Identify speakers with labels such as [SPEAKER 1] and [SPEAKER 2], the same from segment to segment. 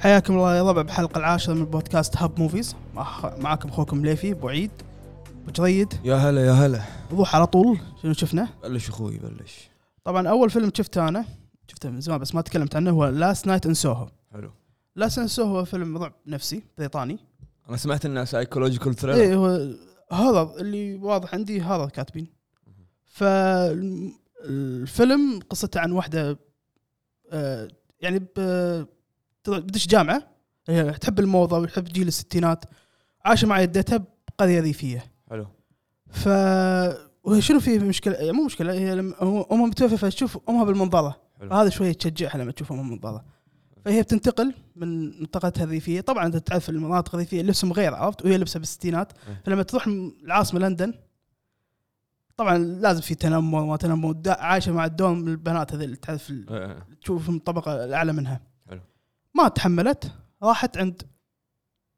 [SPEAKER 1] حياكم الله يا ربع بحلقة العاشرة من بودكاست هاب موفيز مع- معاكم اخوكم ليفي بعيد وجريد
[SPEAKER 2] يا هلا يا هلا
[SPEAKER 1] روح على طول شنو شفنا
[SPEAKER 2] بلش اخوي بلش
[SPEAKER 1] طبعا اول فيلم شفته انا شفته من زمان بس ما تكلمت عنه هو لاست نايت ان سوهو
[SPEAKER 2] حلو
[SPEAKER 1] لاست ان سوهو هو فيلم رعب نفسي بريطاني
[SPEAKER 2] انا سمعت انه سايكولوجيكال ثريلر
[SPEAKER 1] اي إيه، هو هذا اللي واضح عندي هذا كاتبين فالفيلم قصته عن واحده آه، يعني ب- تطلع- بدش جامعه هي تحب الموضه وتحب جيل الستينات عاشه مع جدتها بقريه ريفيه
[SPEAKER 2] حلو
[SPEAKER 1] ف وهي شنو في مشكله يعني مو مشكله هي لما هو- امها متوفى فتشوف امها بالمنظره
[SPEAKER 2] حلو.
[SPEAKER 1] هذا شويه تشجعها لما تشوف امها بالمنظره فهي بتنتقل من منطقتها الريفيه طبعا انت تعرف المناطق الريفيه لبسهم غير عرفت وهي لبسها بالستينات
[SPEAKER 2] إيه.
[SPEAKER 1] فلما تروح م- العاصمه لندن طبعا لازم في تنمر وما تنمر دا- عايشه مع الدوم البنات هذي اللي تعرف ال-
[SPEAKER 2] إيه.
[SPEAKER 1] تشوفهم الطبقه الاعلى منها
[SPEAKER 2] حلو.
[SPEAKER 1] ما تحملت راحت عند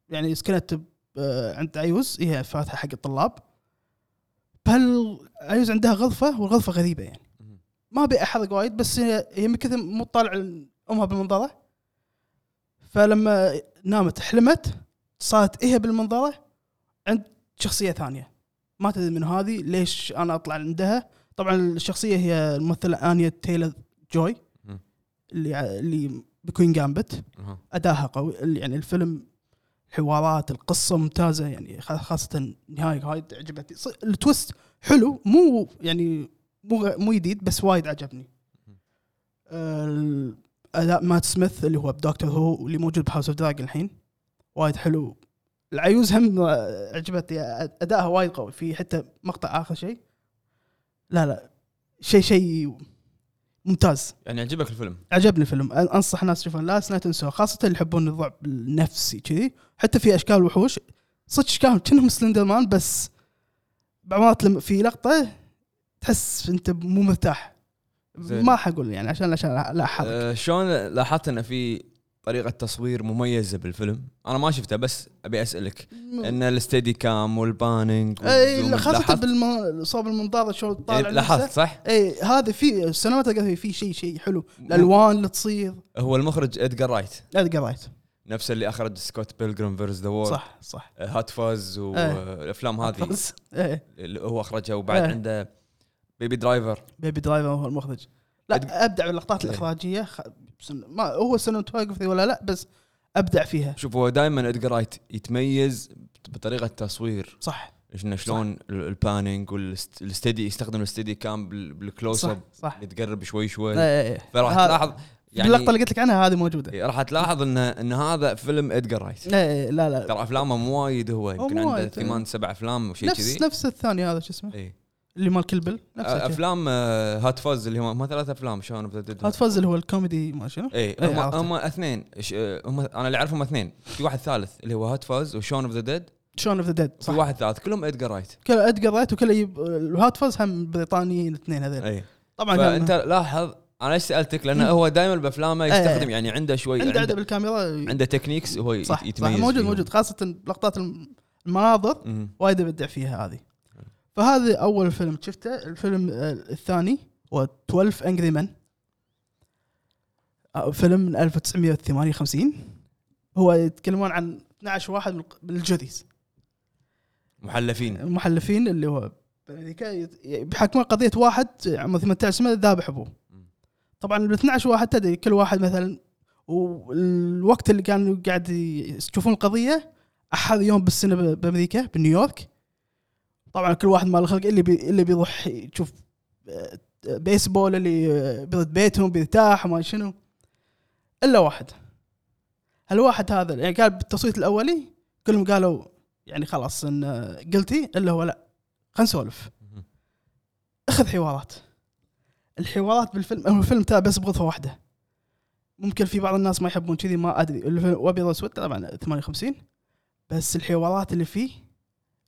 [SPEAKER 1] يعني سكنت ب- آه، عند عيوز هي فاتحه حق الطلاب بهال عيوز عندها غرفه والغرفه غريبه يعني
[SPEAKER 2] مهم.
[SPEAKER 1] ما ابي احرق وايد بس هي هي من كثر مو طالع امها بالمنظره فلما نامت حلمت صارت هي بالمنظره عند شخصيه ثانيه ما تدري من هذه ليش انا اطلع عندها طبعا الشخصيه هي الممثله انيا تايلر جوي
[SPEAKER 2] مم.
[SPEAKER 1] اللي اللي بكوين جامبت
[SPEAKER 2] أها.
[SPEAKER 1] اداها قوي يعني الفيلم حوارات القصه ممتازه يعني خ- خاصه نهايه وايد عجبتني ص- التويست حلو مو يعني مو غ- مو جديد بس وايد عجبني آه، اداء مات سميث اللي هو بدكتور هو اللي موجود بهاوس اوف دراجون الحين وايد حلو العيوز هم آه، عجبتني آه، ادائها وايد قوي في حتى مقطع اخر شيء لا لا شيء شيء ممتاز
[SPEAKER 2] يعني عجبك الفيلم
[SPEAKER 1] عجبني الفيلم أن- انصح الناس يشوفون لاست نايت انسو خاصه اللي يحبون الرعب النفسي كذي حتى في اشكال وحوش صدق اشكالهم كأنهم سلندر مان بس بعض لما في لقطه تحس انت مو مرتاح
[SPEAKER 2] زين.
[SPEAKER 1] ما حقول يعني عشان عشان لا- لا احرق
[SPEAKER 2] آه، شلون لاحظت انه في طريقه تصوير مميزه بالفيلم انا ما شفتها بس ابي اسالك ان الستيدي كام والبانينج
[SPEAKER 1] اي
[SPEAKER 2] والزوم،
[SPEAKER 1] خاصه
[SPEAKER 2] يعني لاحظت؟
[SPEAKER 1] إيه، بالم... صوب المنظار شلون
[SPEAKER 2] يعني
[SPEAKER 1] طالع
[SPEAKER 2] لاحظت
[SPEAKER 1] نفسه.
[SPEAKER 2] صح؟
[SPEAKER 1] اي هذا في السينماتوجرافي في شيء شيء حلو
[SPEAKER 2] يعني
[SPEAKER 1] الالوان اللي تصير
[SPEAKER 2] هو المخرج ادجار رايت
[SPEAKER 1] لا قريت
[SPEAKER 2] نفسه اللي اخرج سكوت بيلجرام فيرز ذا وورد
[SPEAKER 1] صح إيه. صح
[SPEAKER 2] هات فاز والافلام هذه
[SPEAKER 1] بس. إيه.
[SPEAKER 2] اللي هو اخرجها وبعد
[SPEAKER 1] إيه.
[SPEAKER 2] عنده بيبي درايفر
[SPEAKER 1] بيبي درايفر هو المخرج
[SPEAKER 2] أد-
[SPEAKER 1] لا ابدع باللقطات
[SPEAKER 2] إيه.
[SPEAKER 1] الاخراجيه خ... بسن- ما هو سينماتوجرافي ولا لا بس ابدع فيها
[SPEAKER 2] شوف هو دائما ادجر رايت يتميز بطريقه تصوير
[SPEAKER 1] صح
[SPEAKER 2] إنه شلون ال- البانينج والستدي يستخدم الستدي كام بال- بالكلوز
[SPEAKER 1] صح
[SPEAKER 2] اب
[SPEAKER 1] صح
[SPEAKER 2] يتقرب شوي شوي
[SPEAKER 1] إيه، إيه، إيه.
[SPEAKER 2] فراح
[SPEAKER 1] هذا-
[SPEAKER 2] تلاحظ يعني
[SPEAKER 1] اللقطه اللي قلت لك عنها هذه موجوده
[SPEAKER 2] إيه، راح تلاحظ ان ان هذا فيلم ادجر رايت
[SPEAKER 1] إيه، إيه، لا لا
[SPEAKER 2] ترى افلامه مو وايد هو
[SPEAKER 1] هو
[SPEAKER 2] يمكن
[SPEAKER 1] مو
[SPEAKER 2] عنده
[SPEAKER 1] وايد.
[SPEAKER 2] ثمان سبع افلام وشيء
[SPEAKER 1] نفس
[SPEAKER 2] كذي
[SPEAKER 1] نفس الثاني هذا شو اسمه
[SPEAKER 2] إيه.
[SPEAKER 1] اللي مال كلبل نفس
[SPEAKER 2] آه،
[SPEAKER 1] الشيء
[SPEAKER 2] افلام آه، هات فاز اللي هم هم ثلاث افلام شلون
[SPEAKER 1] هات فاز اللي هو الكوميدي ما شنو
[SPEAKER 2] اي
[SPEAKER 1] إيه،
[SPEAKER 2] هم
[SPEAKER 1] عرفته.
[SPEAKER 2] هم اثنين ش- آه، هم انا اللي اعرفهم اثنين في واحد ثالث اللي هو هات فاز وشون اوف ذا ديد
[SPEAKER 1] شون اوف ذا ديد
[SPEAKER 2] في
[SPEAKER 1] صح
[SPEAKER 2] واحد ثالث كلهم ادجر رايت
[SPEAKER 1] كله ادقر رايت وكله يب... الهات فاز هم بريطانيين الاثنين هذول
[SPEAKER 2] اي
[SPEAKER 1] طبعا
[SPEAKER 2] فانت
[SPEAKER 1] كان-
[SPEAKER 2] لاحظ انا ايش سالتك لانه هو دائما بافلامه يستخدم
[SPEAKER 1] نعم، إيه.
[SPEAKER 2] يعني عنده شوي
[SPEAKER 1] عنده عدد
[SPEAKER 2] عنده,
[SPEAKER 1] بالكاميرا
[SPEAKER 2] عنده تكنيكس هو يت-
[SPEAKER 1] صح صح
[SPEAKER 2] يتميز
[SPEAKER 1] موجود
[SPEAKER 2] فيهم.
[SPEAKER 1] موجود خاصه لقطات الم- المناظر
[SPEAKER 2] مم.
[SPEAKER 1] وايد ابدع فيها هذه فهذا اول فيلم شفته الفيلم آه، الثاني هو 12 انجري مان آه، فيلم من 1958 هو يتكلمون عن 12 واحد من الق- من الجوديز إيه.
[SPEAKER 2] محلفين
[SPEAKER 1] المحلفين اللي هو بامريكا يت- يحكمون قضيه واحد عمره 18 سنه ذابح ابوه
[SPEAKER 2] مم.
[SPEAKER 1] طبعا ال 12 واحد تدري كل واحد مثلا والوقت اللي كانوا قاعد يشوفون القضيه احد يوم بالسنه ب- بامريكا بنيويورك طبعا كل واحد مال الخلق اللي بي اللي بيروح يشوف آه، بيسبول اللي آه، بيرد بيتهم بيرتاح وما شنو الا واحد هالواحد هذا يعني قال بالتصويت الاولي كلهم قالوا يعني خلاص ان قلتي الا هو لا خلينا نسولف
[SPEAKER 2] مم.
[SPEAKER 1] اخذ حوارات الحوارات بالفيلم هو الفيلم ترى بس بغرفه واحده ممكن في بعض الناس ما يحبون كذي ما ادري الفيلم وابيض واسود طبعا 58 بس الحوارات اللي فيه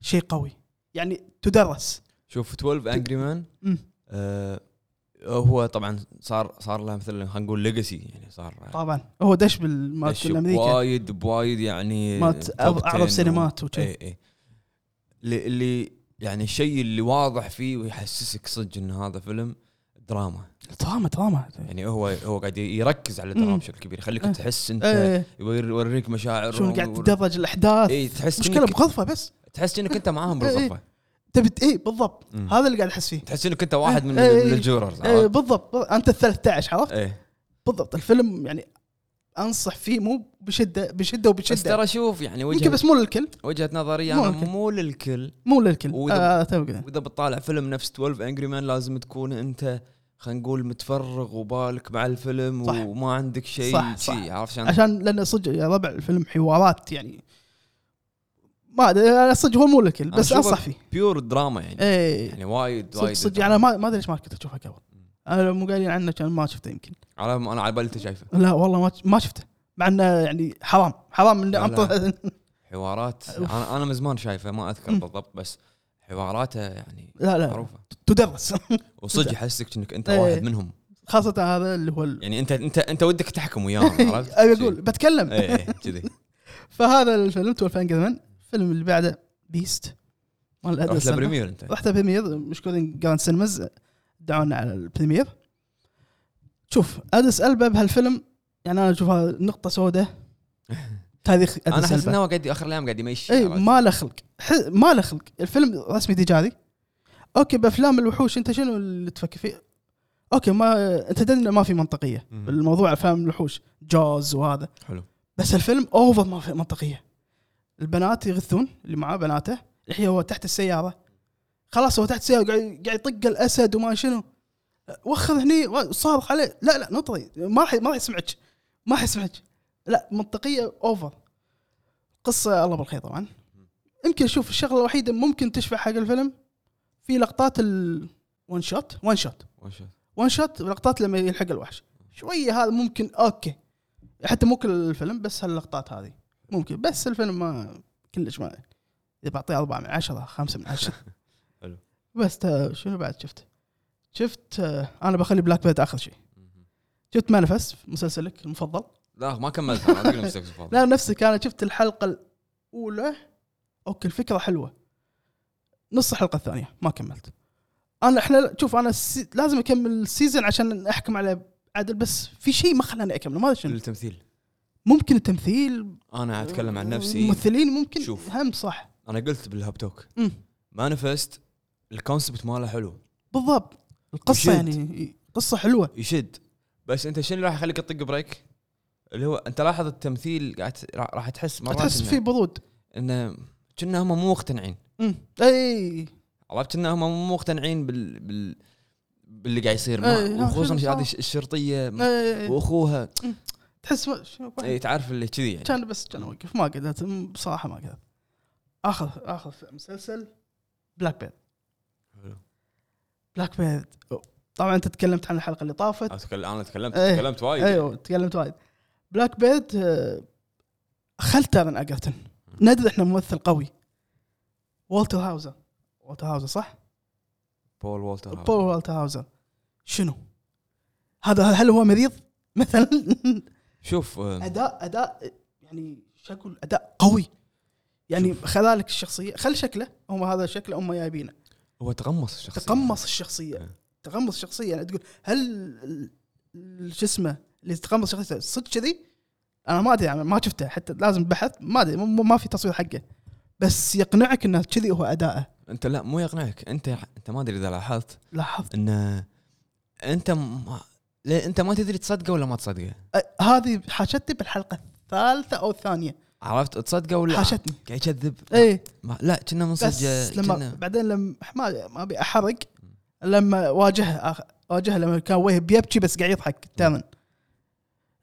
[SPEAKER 1] شيء قوي يعني تدرس
[SPEAKER 2] شوف 12 انجري مان
[SPEAKER 1] مم.
[SPEAKER 2] آه، هو طبعا صار صار له مثل خلينا نقول ليجاسي يعني صار
[SPEAKER 1] طبعا هو دش بالمات
[SPEAKER 2] دش
[SPEAKER 1] الامريكا
[SPEAKER 2] بوايد بوايد يعني إيه،
[SPEAKER 1] مات
[SPEAKER 2] توب
[SPEAKER 1] أغ-
[SPEAKER 2] 10 و-
[SPEAKER 1] اعرب سينمات وكذي
[SPEAKER 2] اي اي اللي- اللي يعني الشيء اللي واضح فيه ويحسسك صدق ان هذا فيلم دراما
[SPEAKER 1] دراما دراما
[SPEAKER 2] يعني هو هو قاعد يركز على الدراما
[SPEAKER 1] مم.
[SPEAKER 2] بشكل كبير يخليك
[SPEAKER 1] إيه.
[SPEAKER 2] تحس انت
[SPEAKER 1] ايه
[SPEAKER 2] يبغى يوريك مشاعر
[SPEAKER 1] شلون قاعد
[SPEAKER 2] و-
[SPEAKER 1] تتدرج الاحداث
[SPEAKER 2] اي تحس
[SPEAKER 1] مشكله
[SPEAKER 2] انك
[SPEAKER 1] بغرفه بس
[SPEAKER 2] تحس انك انت معاهم
[SPEAKER 1] إيه، إيه.
[SPEAKER 2] بالغرفه
[SPEAKER 1] تبي اي بالضبط
[SPEAKER 2] مم.
[SPEAKER 1] هذا اللي قاعد احس فيه
[SPEAKER 2] تحس انك انت واحد من
[SPEAKER 1] إيه، إيه.
[SPEAKER 2] من الجوررز
[SPEAKER 1] إيه
[SPEAKER 2] عرفت؟
[SPEAKER 1] بالضبط انت ال 13 عرفت
[SPEAKER 2] ايه
[SPEAKER 1] بالضبط الفيلم يعني انصح فيه مو بشده بشده
[SPEAKER 2] بس
[SPEAKER 1] وبشده
[SPEAKER 2] ترى شوف يعني
[SPEAKER 1] يمكن
[SPEAKER 2] وجهه
[SPEAKER 1] بس مو للكل
[SPEAKER 2] وجهه نظري انا
[SPEAKER 1] ممكن.
[SPEAKER 2] مو للكل
[SPEAKER 1] مو للكل
[SPEAKER 2] وإذا-
[SPEAKER 1] آه تو كذا
[SPEAKER 2] واذا بتطالع فيلم نفس 12 انجري مان لازم تكون انت خلينا نقول متفرغ وبالك مع الفيلم
[SPEAKER 1] صح.
[SPEAKER 2] وما عندك شيء
[SPEAKER 1] صح،
[SPEAKER 2] شي،
[SPEAKER 1] صح.
[SPEAKER 2] عرفت شلون؟
[SPEAKER 1] عشان لان صدق يا ربع الفيلم حوارات يعني ما ادري أنا صدق هو مو للكل
[SPEAKER 2] أنا
[SPEAKER 1] بس
[SPEAKER 2] أشوفه-
[SPEAKER 1] انصح فيه
[SPEAKER 2] بيور دراما يعني
[SPEAKER 1] اي
[SPEAKER 2] يعني وايد
[SPEAKER 1] إيه. صدق
[SPEAKER 2] وايد
[SPEAKER 1] صدق يعني انا ما ما ادري ليش ما كنت اشوفه قبل انا لو مو قايلين عنه كان ما شفته يمكن
[SPEAKER 2] على انا على بالي انت شايفه
[SPEAKER 1] لا والله ما ما شفته مع انه يعني حرام حرام انه
[SPEAKER 2] لا، لا.
[SPEAKER 1] انطر
[SPEAKER 2] حوارات
[SPEAKER 1] أوف.
[SPEAKER 2] انا انا من زمان شايفه ما اذكر
[SPEAKER 1] مم. إيه.
[SPEAKER 2] بالضبط بس حواراته يعني
[SPEAKER 1] لا لا
[SPEAKER 2] معروفه
[SPEAKER 1] تدرس
[SPEAKER 2] وصدق يحسسك انك انت
[SPEAKER 1] إيه.
[SPEAKER 2] واحد منهم
[SPEAKER 1] خاصه هذا اللي هو ال-
[SPEAKER 2] يعني انت انت انت ودك تحكم وياهم عرفت؟
[SPEAKER 1] ابي اقول بتكلم
[SPEAKER 2] اي اي كذي
[SPEAKER 1] فهذا الفيلم 12 انجر مان الفيلم اللي بعده بيست مال الأدلة
[SPEAKER 2] رحت
[SPEAKER 1] السنة.
[SPEAKER 2] لبريمير انت
[SPEAKER 1] رحت بريمير مشكورين جراند سينمز دعونا على البريمير شوف ادس البا بهالفيلم يعني انا اشوفها نقطه سوداء تاريخ
[SPEAKER 2] انا
[SPEAKER 1] ادس
[SPEAKER 2] احس انه
[SPEAKER 1] البا
[SPEAKER 2] هو قاعد اخر الايام قاعد يمشي
[SPEAKER 1] اي
[SPEAKER 2] عرفت؟
[SPEAKER 1] إيه، ما له خلق ح- ما له خلق الفيلم رسمي تجاري اوكي بافلام الوحوش انت شنو اللي تفكر فيه؟ اوكي ما انت تدري إنه ما في منطقيه
[SPEAKER 2] مم.
[SPEAKER 1] الموضوع افلام الوحوش جوز وهذا
[SPEAKER 2] حلو
[SPEAKER 1] بس الفيلم اوفر ما في منطقيه البنات يغثون اللي معاه بناته الحين هو تحت السياره خلاص هو تحت السياره قاعد قاعد يطق الاسد وما شنو وخر هني و- صارخ عليه لا لا نطري ما راح ما راح يسمعك ما راح يسمعك لا منطقيه اوفر قصه الله بالخير طبعا يمكن شوف الشغله الوحيده ممكن تشفع حق الفيلم في لقطات الون شوت وان شوت
[SPEAKER 2] وش-
[SPEAKER 1] وان شوت لقطات لما يلحق الوحش شويه هذا ممكن اوكي حتى مو كل الفيلم بس هاللقطات هذه ممكن بس الفيلم ما كلش ما اذا بعطيه أربعة من عشرة خمسة من عشرة
[SPEAKER 2] حلو.
[SPEAKER 1] بس تا- شنو بعد شفت شفت آه، انا بخلي بلاك بيرد اخر شيء
[SPEAKER 2] مم.
[SPEAKER 1] شفت مانيفست مسلسلك المفضل
[SPEAKER 2] لا ما كملت انا أقول نفسك تفضل.
[SPEAKER 1] لا نفسك انا شفت الحلقه الاولى اوكي الفكره حلوه نص الحلقه الثانيه ما كملت انا احنا شوف انا السي... لازم اكمل السيزون عشان احكم على عادل بس في شيء ما خلاني اكمله ما ادري شنو
[SPEAKER 2] التمثيل
[SPEAKER 1] ممكن التمثيل
[SPEAKER 2] انا اتكلم عن نفسي
[SPEAKER 1] ممثلين ممكن
[SPEAKER 2] شوف.
[SPEAKER 1] شوف. هم صح
[SPEAKER 2] انا قلت بالهاب توك
[SPEAKER 1] مم.
[SPEAKER 2] مانيفست الكونسبت ماله حلو
[SPEAKER 1] بالضبط القصه
[SPEAKER 2] وشد.
[SPEAKER 1] يعني قصه حلوه
[SPEAKER 2] يشد بس انت شنو اللي راح يخليك تطق بريك؟ اللي هو انت لاحظ التمثيل قاعد راح راح تحس مرات
[SPEAKER 1] تحس في
[SPEAKER 2] انه
[SPEAKER 1] برود
[SPEAKER 2] انه كنا هم مو مقتنعين
[SPEAKER 1] مم. إيه. اي
[SPEAKER 2] عرفت كنا هم مو مقتنعين بال, بال باللي قاعد يصير
[SPEAKER 1] إيه،
[SPEAKER 2] ما-
[SPEAKER 1] ها،
[SPEAKER 2] وخصوصا
[SPEAKER 1] شنو
[SPEAKER 2] هذه
[SPEAKER 1] صار؟
[SPEAKER 2] الشرطيه
[SPEAKER 1] إي.
[SPEAKER 2] واخوها
[SPEAKER 1] إيه. تحس ما- شنو
[SPEAKER 2] اي تعرف اللي كذي يعني
[SPEAKER 1] كان بس كان اوقف ما قدرت م- بصراحه ما قدرت اخذ اخذ مسلسل بلاك بيرد
[SPEAKER 2] حلو.
[SPEAKER 1] بلاك بيرد طبعا انت تكلمت عن الحلقه اللي طافت
[SPEAKER 2] أتكل- انا تكلمت
[SPEAKER 1] إيه.
[SPEAKER 2] تكلمت وايد
[SPEAKER 1] ايوه تكلمت وايد بلاك بيرد آه، خلت ارن اجرتن ندري احنا ممثل قوي والتر هاوزر والتر هاوزر صح؟
[SPEAKER 2] بول والتر هاوس.
[SPEAKER 1] بول والتر هاوزر شنو؟ هذا هل هو مريض؟ مثلا
[SPEAKER 2] شوف آه،
[SPEAKER 1] اداء اداء يعني شكل اداء قوي يعني خلالك الشخصيه خل شكله هم هذا شكله هم جايبينه
[SPEAKER 2] هو تقمص الشخصيه
[SPEAKER 1] تقمص
[SPEAKER 2] إيه.
[SPEAKER 1] الشخصيه تقمص الشخصيه يعني تقول هل ال- ال- شو اسمه اللي تقمص شخصيته صدق كذي؟ انا ما ادري يعني ما شفته حتى لازم بحث ما ادري مو- ما في تصوير حقه بس يقنعك انه كذي هو اداءه
[SPEAKER 2] انت لا مو يقنعك انت انت ما ادري اذا لاحظت
[SPEAKER 1] لاحظت
[SPEAKER 2] انه انت ما لا، انت ما تدري تصدقه ولا ما تصدقه
[SPEAKER 1] أ- هذه حاشتني بالحلقه الثالثه او الثانيه
[SPEAKER 2] عرفت تصدقه ولا
[SPEAKER 1] حاشتني
[SPEAKER 2] قاعد يكذب
[SPEAKER 1] ايه
[SPEAKER 2] ما- لا كنا
[SPEAKER 1] بس
[SPEAKER 2] منصج آه،
[SPEAKER 1] لما
[SPEAKER 2] كنا
[SPEAKER 1] بعدين لما ما ما ابي احرق لما واجهه آخ- واجهه لما كان وهب يبكي بس قاعد يضحك تامن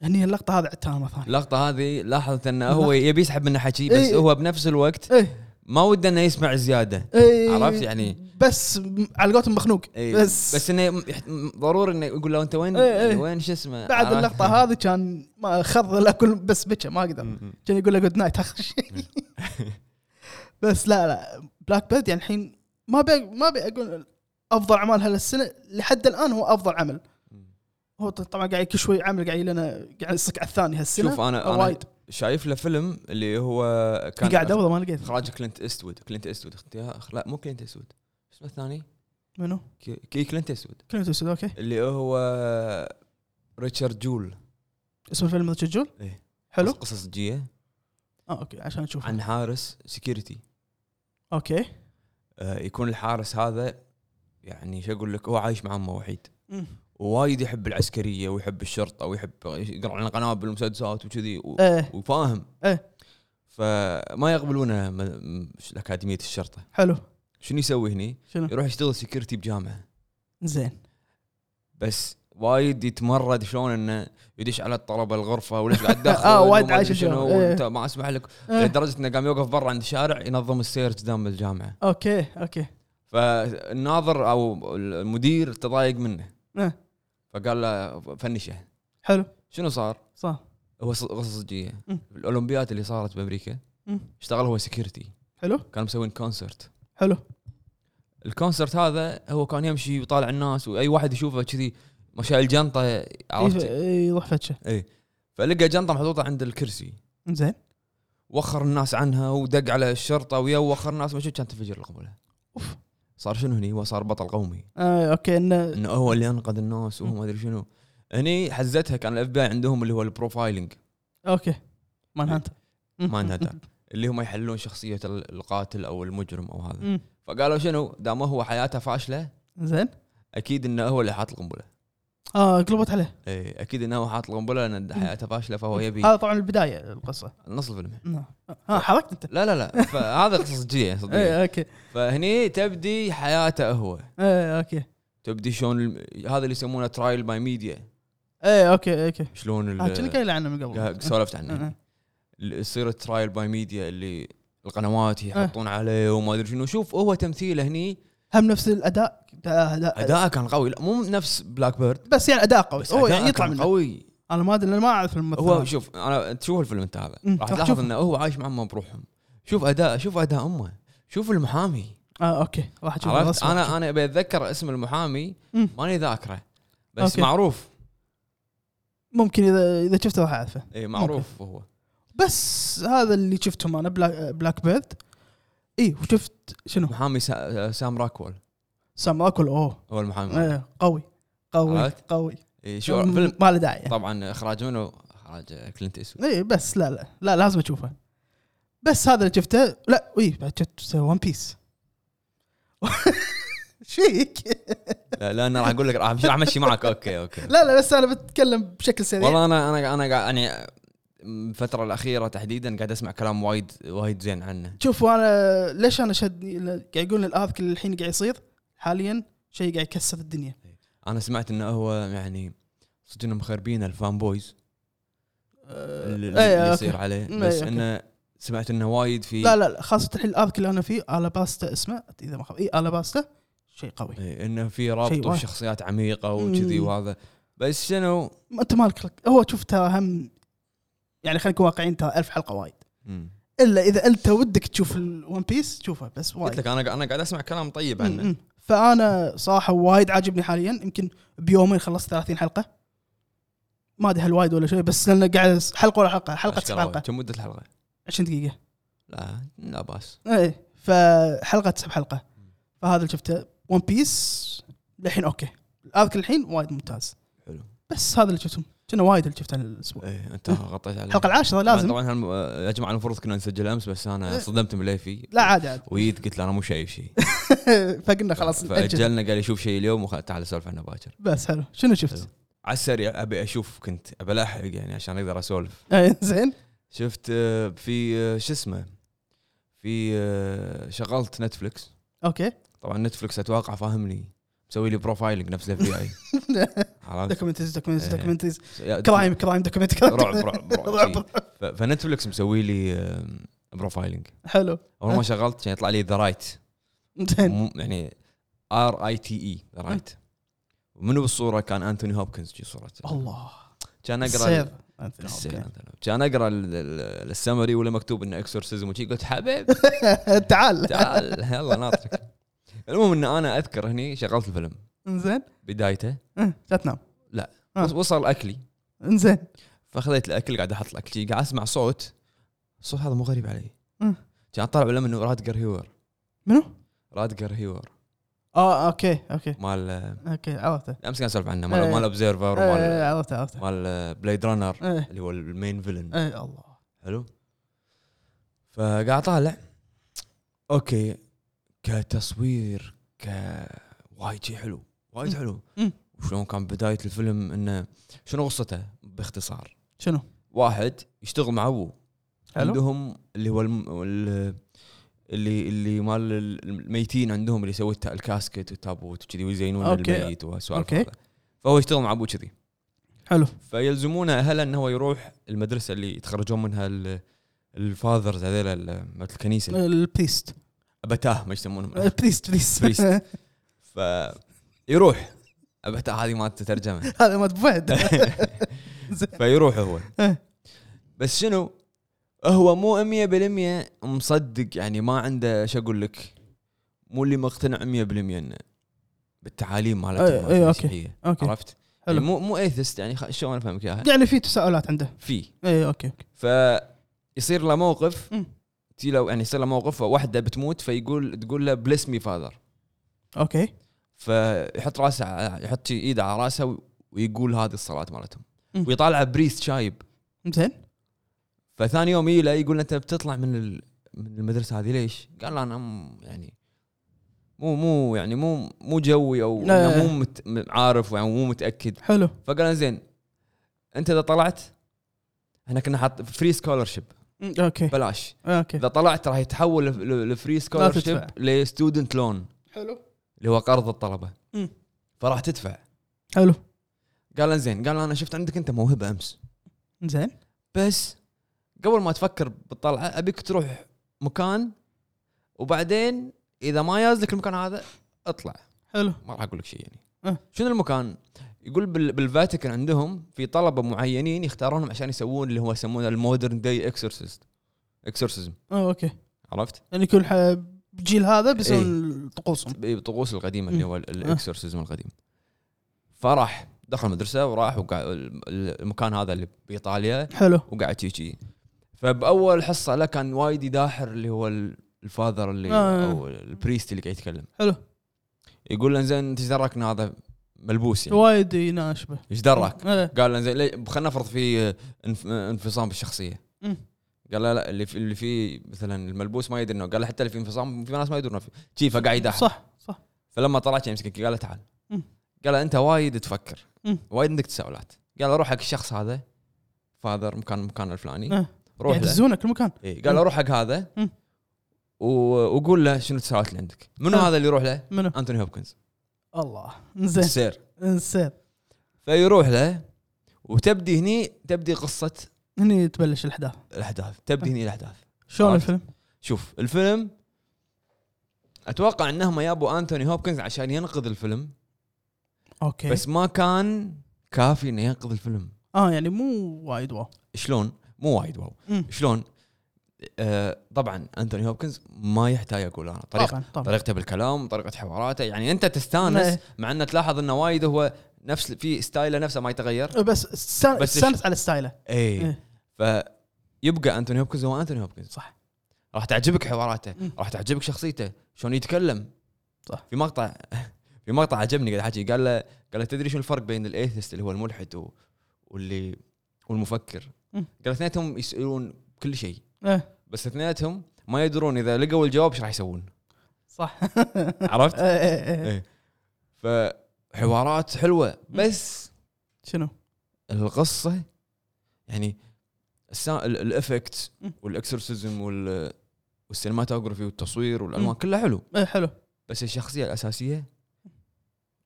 [SPEAKER 1] هني اللقطه هذه عدتها مره ثانيه
[SPEAKER 2] اللقطه هذه لاحظت انه هو يبي يسحب منه حكي بس
[SPEAKER 1] إيه.
[SPEAKER 2] هو بنفس الوقت
[SPEAKER 1] ايه
[SPEAKER 2] ما وده انه يسمع زياده
[SPEAKER 1] ايه
[SPEAKER 2] عرفت يعني؟
[SPEAKER 1] بس م- على قولتهم مخنوق
[SPEAKER 2] إيه.
[SPEAKER 1] بس,
[SPEAKER 2] بس انه يم- يحت- م- ضروري انه يقول له انت وين
[SPEAKER 1] إيه، إيه.
[SPEAKER 2] يعني وين شو اسمه
[SPEAKER 1] بعد
[SPEAKER 2] عرفت؟
[SPEAKER 1] اللقطه هذه كان ما خض الاكل بس بكى ما قدر
[SPEAKER 2] م- م.
[SPEAKER 1] كان يقول له جود نايت اخر شيء بس لا لا بلاك بيرد يعني الحين ما بي ما بي اقول افضل اعمال هالسنه لحد الان هو افضل عمل هو طبعا قاعد كل شوي عمل قاعد لنا قاعد يصك على الثاني هالسنه
[SPEAKER 2] شوف انا انا
[SPEAKER 1] وايد.
[SPEAKER 2] شايف له فيلم اللي هو كان
[SPEAKER 1] قاعد ادور ما لقيت
[SPEAKER 2] اخراج كلينت استود كلينت استود اختيار لا مو كلينت استود اسمه الثاني
[SPEAKER 1] منو؟
[SPEAKER 2] كي- كي كلينت اسود
[SPEAKER 1] كلينت اسود اوكي
[SPEAKER 2] اللي هو ريتشارد جول
[SPEAKER 1] اسم الفيلم ذا جول؟
[SPEAKER 2] إيه.
[SPEAKER 1] حلو
[SPEAKER 2] قصة صجية
[SPEAKER 1] اه اوكي عشان نشوف
[SPEAKER 2] عن حارس سكيورتي
[SPEAKER 1] اوكي
[SPEAKER 2] آه، يكون الحارس هذا يعني شو اقول لك هو عايش مع امه وحيد
[SPEAKER 1] مم.
[SPEAKER 2] ووايد يحب العسكريه ويحب الشرطه ويحب يقرا عن القنابل والمسدسات وكذي و-
[SPEAKER 1] ايه
[SPEAKER 2] وفاهم
[SPEAKER 1] إيه.
[SPEAKER 2] فما يقبلونه م- م- اكاديميه الشرطه
[SPEAKER 1] حلو
[SPEAKER 2] شنو يسوي هني؟
[SPEAKER 1] شنو؟
[SPEAKER 2] يروح يشتغل سكيورتي بجامعه
[SPEAKER 1] زين
[SPEAKER 2] بس وايد يتمرد شلون انه يدش على الطلبه الغرفه وليش قاعد تدخل
[SPEAKER 1] آه، وايد
[SPEAKER 2] وما
[SPEAKER 1] عايش
[SPEAKER 2] أدري شنو
[SPEAKER 1] الجو. إيه.
[SPEAKER 2] وانت ما اسمح لك
[SPEAKER 1] إيه.
[SPEAKER 2] لدرجه انه قام يوقف برا عند الشارع ينظم السير قدام الجامعه
[SPEAKER 1] اوكي اوكي
[SPEAKER 2] فالناظر او المدير تضايق منه
[SPEAKER 1] إيه.
[SPEAKER 2] فقال له فنشه
[SPEAKER 1] حلو
[SPEAKER 2] شنو صار؟
[SPEAKER 1] صح
[SPEAKER 2] هو ص- قصه صجيه
[SPEAKER 1] مم.
[SPEAKER 2] الاولمبيات اللي صارت بامريكا
[SPEAKER 1] مم.
[SPEAKER 2] اشتغل هو سكيورتي
[SPEAKER 1] حلو
[SPEAKER 2] كانوا مسوين كونسرت
[SPEAKER 1] حلو
[SPEAKER 2] الكونسرت هذا هو كان يمشي ويطالع الناس واي واحد يشوفه كذي ما شايل جنطه عرفت
[SPEAKER 1] إيه، يروح فتشه
[SPEAKER 2] فلقى جنطه محطوطه عند الكرسي
[SPEAKER 1] زين
[SPEAKER 2] وخر الناس عنها ودق على الشرطه ويا وخر الناس ما شو كان تنفجر القنبله
[SPEAKER 1] اوف
[SPEAKER 2] صار شنو هني هو صار بطل قومي
[SPEAKER 1] آه اوكي انه
[SPEAKER 2] انه هو اللي انقذ الناس وهو ما ادري شنو هني حزتها كان الاف بي اي عندهم اللي هو البروفايلنج
[SPEAKER 1] اوكي مان هانتر
[SPEAKER 2] مان هانتر. اللي هم يحلون شخصيه ال- القاتل او المجرم او هذا فقالوا شنو دام هو حياته فاشله
[SPEAKER 1] زين
[SPEAKER 2] اكيد انه هو اللي حاط القنبله
[SPEAKER 1] اه قلبت عليه
[SPEAKER 2] إيه، اكيد انه هو حاط القنبله لان حياته فاشله فهو يبي
[SPEAKER 1] هذا طبعا البدايه القصه
[SPEAKER 2] نص الفيلم
[SPEAKER 1] نعم. ها حركت إيه، انت
[SPEAKER 2] لا لا لا فهذا قصص جديه صدق
[SPEAKER 1] اي اوكي
[SPEAKER 2] فهني تبدي حياته هو
[SPEAKER 1] اي اوكي
[SPEAKER 2] تبدي شلون الم- هذا اللي يسمونه ترايل باي ميديا
[SPEAKER 1] اي اوكي اوكي
[SPEAKER 2] شلون
[SPEAKER 1] آه، كنا
[SPEAKER 2] ال-
[SPEAKER 1] قايل عنه من قبل
[SPEAKER 2] سولفت
[SPEAKER 1] آه،
[SPEAKER 2] عنه
[SPEAKER 1] آه.
[SPEAKER 2] اللي يصير الترايل باي ميديا اللي القنوات
[SPEAKER 1] آه.
[SPEAKER 2] يحطون عليه وما ادري شنو شوف هو تمثيله هني
[SPEAKER 1] هم نفس الاداء لا لا
[SPEAKER 2] اداءه كان قوي لا مو نفس بلاك بيرد
[SPEAKER 1] بس يعني اداء قوي
[SPEAKER 2] بس
[SPEAKER 1] هو
[SPEAKER 2] هو
[SPEAKER 1] يعني يطلع
[SPEAKER 2] من
[SPEAKER 1] منه
[SPEAKER 2] قوي
[SPEAKER 1] انا ما ادري لأن ما اعرف الممثل
[SPEAKER 2] هو
[SPEAKER 1] هذا.
[SPEAKER 2] شوف انا تشوف الفيلم انت هذا
[SPEAKER 1] مم،
[SPEAKER 2] راح
[SPEAKER 1] راح
[SPEAKER 2] تلاحظ
[SPEAKER 1] تشوفه.
[SPEAKER 2] انه هو عايش مع امه بروحهم شوف اداء شوف اداء امه شوف المحامي
[SPEAKER 1] اه اوكي راح اشوف
[SPEAKER 2] عرفت
[SPEAKER 1] الرسمة.
[SPEAKER 2] انا انا ابي اتذكر اسم المحامي
[SPEAKER 1] مم.
[SPEAKER 2] ماني ذاكره بس
[SPEAKER 1] أوكي.
[SPEAKER 2] معروف
[SPEAKER 1] ممكن اذا اذا شفته راح اعرفه
[SPEAKER 2] اي معروف هو
[SPEAKER 1] بس هذا اللي شفتهم انا بلاك, بلاك بيرد اي وشفت شنو
[SPEAKER 2] محامي سا... سام راكوال
[SPEAKER 1] سام راكل اوه
[SPEAKER 2] هو المحامي
[SPEAKER 1] إيه، قوي قوي
[SPEAKER 2] عرفت؟
[SPEAKER 1] قوي
[SPEAKER 2] إيه، شو فيلم
[SPEAKER 1] ما له داعي
[SPEAKER 2] طبعا اخراج منه اخراج كلينت اسود
[SPEAKER 1] اي بس لا لا لا لازم اشوفه بس هذا اللي شفته لا اي بعد شفت ون بيس شيك
[SPEAKER 2] لا لا انا راح اقول لك راح أمشي- راح امشي معك اوكي اوكي
[SPEAKER 1] لا يعني لا بس انا بتكلم بشكل سريع
[SPEAKER 2] والله انا انا انا قاعد يعني الفتره الاخيره تحديدا قاعد اسمع كلام وايد وايد زين عنه
[SPEAKER 1] شوفوا انا ليش انا شدني ل- قاعد يقول الاذك اللي الحين قاعد يصير حاليا شيء قاعد يكسر الدنيا
[SPEAKER 2] انا سمعت انه هو يعني صدق انهم مخربين الفان بويز
[SPEAKER 1] أه
[SPEAKER 2] اللي,
[SPEAKER 1] إيه،
[SPEAKER 2] اللي
[SPEAKER 1] أوكي.
[SPEAKER 2] يصير عليه
[SPEAKER 1] إيه،
[SPEAKER 2] بس
[SPEAKER 1] أوكي.
[SPEAKER 2] انه سمعت انه وايد في
[SPEAKER 1] لا لا لا خاصة الحين الاذك اللي انا فيه الاباستا اسمه اذا ما خاب اي الاباستا شيء قوي
[SPEAKER 2] إيه، انه في رابط
[SPEAKER 1] شيء وايد.
[SPEAKER 2] وشخصيات عميقه وكذي
[SPEAKER 1] مم.
[SPEAKER 2] وهذا بس شنو
[SPEAKER 1] ما انت مالك خلق. هو شوف ترى هم يعني خلينا نكون واقعيين ترى ألف حلقه وايد
[SPEAKER 2] مم.
[SPEAKER 1] الا اذا انت ودك تشوف الون بيس شوفه بس
[SPEAKER 2] قلت
[SPEAKER 1] وايد
[SPEAKER 2] لك انا قاعد- انا قاعد اسمع كلام طيب عنه
[SPEAKER 1] م- م. فانا صراحه وايد عاجبني حاليا يمكن بيومين خلصت 30 حلقه ما ادري هل وايد ولا شوي بس لان قاعد أس- حلقه ولا حلقه حلقه تسع
[SPEAKER 2] أشكره وايد.
[SPEAKER 1] حلقه
[SPEAKER 2] كم مده الحلقه؟
[SPEAKER 1] 20 دقيقه
[SPEAKER 2] لا لا باس
[SPEAKER 1] ايه فحلقه تسع حلقه فهذا اللي شفته ون بيس للحين اوكي اذكر الحين وايد ممتاز
[SPEAKER 2] حلو
[SPEAKER 1] بس هذا اللي شفتهم كنا وايد اللي شفته الاسبوع
[SPEAKER 2] ايه انت غطيت عليه
[SPEAKER 1] الحلقه العاشره لازم
[SPEAKER 2] طبعا هالم... يا جماعه المفروض كنا نسجل امس بس انا
[SPEAKER 1] إيه.
[SPEAKER 2] صدمت من ليفي
[SPEAKER 1] لا عادي عادي
[SPEAKER 2] وجيت قلت له انا مو شايف شيء
[SPEAKER 1] فقلنا خلاص نأجل.
[SPEAKER 2] فاجلنا قال يشوف شيء اليوم وخ- تعال نسولف عنه باكر
[SPEAKER 1] بس حلو شنو شفت؟
[SPEAKER 2] على السريع ابي اشوف كنت ابي الحق يعني عشان اقدر اسولف
[SPEAKER 1] إيه، زين
[SPEAKER 2] شفت آه، في آه، شو اسمه في آه، شغلت نتفلكس
[SPEAKER 1] اوكي
[SPEAKER 2] طبعا نتفلكس اتوقع فاهمني مسوي لي بروفايلنج نفس الاف بي اي عرفت
[SPEAKER 1] دوكيومنتريز دوكيومنتريز
[SPEAKER 2] إيه.
[SPEAKER 1] دوكيومنتريز
[SPEAKER 2] يا-
[SPEAKER 1] كرايم كرايم دوكيومنت كرايم
[SPEAKER 2] رعب رعب رعب ف- فنتفلكس مسوي لي آه، بروفايلنج
[SPEAKER 1] حلو
[SPEAKER 2] اول ما شغلت كان يطلع لي ذا رايت
[SPEAKER 1] زين
[SPEAKER 2] مو- يعني ار اي تي اي رايت E، منو بالصوره كان انتوني هوبكنز في صورته
[SPEAKER 1] الله
[SPEAKER 2] كان اقرا
[SPEAKER 1] السير أنثوني
[SPEAKER 2] السير،
[SPEAKER 1] هوبكنز.
[SPEAKER 2] أنتوني هوبكنز. كان اقرا ال- ال- السمري ولا مكتوب انه اكسورسيزم وشي قلت حبيب
[SPEAKER 1] أه، تعال
[SPEAKER 2] تعال يلا ناطرك المهم ان انا اذكر هني شغلت الفيلم
[SPEAKER 1] انزين
[SPEAKER 2] بدايته
[SPEAKER 1] إيه، لا تنام آه.
[SPEAKER 2] وص- وصل اكلي
[SPEAKER 1] انزين
[SPEAKER 2] فاخذت الاكل قاعد احط الاكل شي، قاعد اسمع صوت الصوت هذا مو غريب علي
[SPEAKER 1] مم.
[SPEAKER 2] كان طالع لما انه رادجر هيور
[SPEAKER 1] منو؟
[SPEAKER 2] رادجر هيور
[SPEAKER 1] اه اوكي اوكي
[SPEAKER 2] مال
[SPEAKER 1] اوكي عرفته
[SPEAKER 2] امس قاعد اسولف عنه
[SPEAKER 1] إيه.
[SPEAKER 2] مال مال اوبزيرفر
[SPEAKER 1] إيه،
[SPEAKER 2] ومال
[SPEAKER 1] عرفته عرفته
[SPEAKER 2] مال بليد رانر
[SPEAKER 1] ايه
[SPEAKER 2] اللي هو المين فيلن
[SPEAKER 1] ايه الله
[SPEAKER 2] حلو فقاعد طالع اوكي كتصوير ك وايد شيء حلو وايد
[SPEAKER 1] مم.
[SPEAKER 2] حلو
[SPEAKER 1] مم.
[SPEAKER 2] وشلون كان بدايه الفيلم انه شنو قصته باختصار
[SPEAKER 1] شنو؟
[SPEAKER 2] واحد يشتغل مع ابوه
[SPEAKER 1] حلو؟
[SPEAKER 2] عندهم اللي هو الم... ال- اللي اللي مال الميتين عندهم اللي يسوي التا- الكاسكت والتابوت وكذي ويزينون
[SPEAKER 1] أوكي.
[SPEAKER 2] الميت وسوالف
[SPEAKER 1] أوكي.
[SPEAKER 2] هذا. فهو يشتغل مع ابوه كذي
[SPEAKER 1] حلو
[SPEAKER 2] فيلزمون اهله انه هو يروح المدرسه اللي يتخرجون منها ال- الفاذرز هذيلا ال- مالت الكنيسه
[SPEAKER 1] أه، إيه. البريست
[SPEAKER 2] ابتاه ما يسمونهم
[SPEAKER 1] البريست بريست
[SPEAKER 2] بريست. ف يروح ابتاه هذه ما تترجمه
[SPEAKER 1] هذا ما بعد زين.
[SPEAKER 2] فيروح هو
[SPEAKER 1] إيه.
[SPEAKER 2] بس شنو هو مو 100% مصدق يعني ما عنده شو اقول لك مو اللي مقتنع 100% انه بالتعاليم
[SPEAKER 1] إيه،
[SPEAKER 2] مالته
[SPEAKER 1] إيه، أوكي.
[SPEAKER 2] المسيحيه
[SPEAKER 1] اوكي
[SPEAKER 2] عرفت؟
[SPEAKER 1] حلو.
[SPEAKER 2] يعني مو مو ايثست يعني خ- شلون افهمك اياها؟
[SPEAKER 1] يعني في تساؤلات عنده أه،
[SPEAKER 2] في
[SPEAKER 1] اي اوكي اوكي
[SPEAKER 2] فيصير له موقف
[SPEAKER 1] مم.
[SPEAKER 2] تي لو يعني يصير له موقف واحده بتموت فيقول تقول له بليس مي فاذر
[SPEAKER 1] اوكي
[SPEAKER 2] فيحط راسه على- يحط شي ايده على راسه و- ويقول هذه الصلاه مالتهم
[SPEAKER 1] مم.
[SPEAKER 2] ويطالعه بريست شايب
[SPEAKER 1] زين
[SPEAKER 2] فثاني يوم يجي له يقول له انت بتطلع من ال- من المدرسه هذه ليش؟ قال له انا م- يعني مو مو يعني مو مو جوي او
[SPEAKER 1] لا.
[SPEAKER 2] أنا مو مت عارف يعني مو متاكد
[SPEAKER 1] حلو
[SPEAKER 2] فقال له زين انت اذا طلعت احنا كنا حاط فري سكولرشيب
[SPEAKER 1] مم، اوكي
[SPEAKER 2] بلاش
[SPEAKER 1] اوكي
[SPEAKER 2] اذا طلعت راح يتحول لف- ل- لفري سكولرشيب
[SPEAKER 1] تدفع.
[SPEAKER 2] لستودنت لون
[SPEAKER 1] حلو
[SPEAKER 2] اللي هو قرض الطلبه
[SPEAKER 1] مم.
[SPEAKER 2] فراح تدفع
[SPEAKER 1] حلو
[SPEAKER 2] قال انزين قال انا شفت عندك انت موهبه امس
[SPEAKER 1] زين
[SPEAKER 2] بس قبل ما تفكر بالطلعه ابيك تروح مكان وبعدين اذا ما ياز لك المكان هذا اطلع
[SPEAKER 1] حلو
[SPEAKER 2] ما راح اقول لك شيء يعني
[SPEAKER 1] أه.
[SPEAKER 2] شنو المكان؟ يقول بال- بالفاتيكان عندهم في طلبه معينين يختارونهم عشان يسوون اللي هو يسمونه المودرن داي اكسورسيست اكسورسيزم
[SPEAKER 1] اه اوكي
[SPEAKER 2] عرفت؟
[SPEAKER 1] يعني يكون ح- بجيل هذا بيسوون طقوسهم
[SPEAKER 2] بالطقوس القديمه اللي
[SPEAKER 1] مم. آه.
[SPEAKER 2] هو الاكسورسيزم القديم فراح دخل المدرسه وراح وقع ال- ال- المكان هذا اللي بايطاليا
[SPEAKER 1] حلو
[SPEAKER 2] وقعد شي شي فباول حصه له كان وايد يداحر اللي هو ال- الفاذر اللي
[SPEAKER 1] آه.
[SPEAKER 2] او البريست اللي قاعد يتكلم
[SPEAKER 1] حلو
[SPEAKER 2] يقول له زين انت ايش دراك إن هذا ملبوس يعني
[SPEAKER 1] وايد يناشبه
[SPEAKER 2] ايش دراك؟
[SPEAKER 1] إيه.
[SPEAKER 2] قال له زين خلينا نفرض في انف- انفصام بالشخصيه
[SPEAKER 1] مم.
[SPEAKER 2] قال لا لا اللي في اللي فيه مثلا الملبوس ما يدري انه قال له حتى اللي في انفصام في ناس ما يدرون إنه في شي فقاعد يداحر
[SPEAKER 1] صح صح
[SPEAKER 2] فلما طلعت يمسكك قال له تعال
[SPEAKER 1] مم.
[SPEAKER 2] قال له انت وايد تفكر
[SPEAKER 1] مم.
[SPEAKER 2] وايد عندك تساؤلات قال له روح حق الشخص هذا فاذر مكان مكان الفلاني
[SPEAKER 1] إيه.
[SPEAKER 2] روح له
[SPEAKER 1] يعتزونك المكان
[SPEAKER 2] إيه. قال له روح حق هذا
[SPEAKER 1] مم.
[SPEAKER 2] و- وقول له شنو التساؤلات اللي عندك منو
[SPEAKER 1] حلو.
[SPEAKER 2] هذا اللي يروح له
[SPEAKER 1] منو
[SPEAKER 2] انتوني هوبكنز
[SPEAKER 1] الله آه. زين
[SPEAKER 2] السير
[SPEAKER 1] انسان
[SPEAKER 2] فيروح له وتبدي هني تبدي قصه
[SPEAKER 1] هني تبلش الاحداث
[SPEAKER 2] الاحداث تبدي هني الاحداث
[SPEAKER 1] شلون
[SPEAKER 2] عرفت.
[SPEAKER 1] الفيلم؟
[SPEAKER 2] شوف الفيلم اتوقع انهم يابوا انتوني هوبكنز عشان ينقذ الفيلم
[SPEAKER 1] اوكي بس
[SPEAKER 2] بس ما كان كافي انه ينقذ الفيلم
[SPEAKER 1] اه يعني مو وايد واو
[SPEAKER 2] شلون؟ مو وايد واو
[SPEAKER 1] مم.
[SPEAKER 2] شلون؟ آه طبعا انتوني هوبكنز ما يحتاج اقول انا طريقة
[SPEAKER 1] طبعا طبعا
[SPEAKER 2] طريقته بالكلام طريقه حواراته يعني انت تستانس
[SPEAKER 1] إيه.
[SPEAKER 2] مع انه تلاحظ انه وايد هو نفس في ستايله نفسه ما يتغير
[SPEAKER 1] إيه، بس استان-
[SPEAKER 2] بس
[SPEAKER 1] استانس على ستايله
[SPEAKER 2] اي
[SPEAKER 1] إيه.
[SPEAKER 2] فيبقى انتوني هوبكنز هو انتوني هوبكنز
[SPEAKER 1] صح.
[SPEAKER 2] راح تعجبك حواراته
[SPEAKER 1] مم.
[SPEAKER 2] راح تعجبك شخصيته شلون يتكلم
[SPEAKER 1] صح.
[SPEAKER 2] في مقطع في مقطع عجبني قاعد حكي قال له قال له تدري شو الفرق بين الايثست اللي هو الملحد و... واللي والمفكر
[SPEAKER 1] مم.
[SPEAKER 2] قال اثنينهم يسالون كل شيء
[SPEAKER 1] إيه.
[SPEAKER 2] بس اثنينهم ما يدرون اذا لقوا الجواب ايش راح يسوون
[SPEAKER 1] صح
[SPEAKER 2] عرفت؟
[SPEAKER 1] إيه، إيه، إيه.
[SPEAKER 2] ايه فحوارات حلوه بس
[SPEAKER 1] شنو؟
[SPEAKER 2] القصه يعني السا... ال- الافكت
[SPEAKER 1] مم.
[SPEAKER 2] والاكسرسيزم وال والسينماتوجرافي والتصوير والالوان كلها حلو
[SPEAKER 1] إيه، حلو
[SPEAKER 2] بس الشخصيه الاساسيه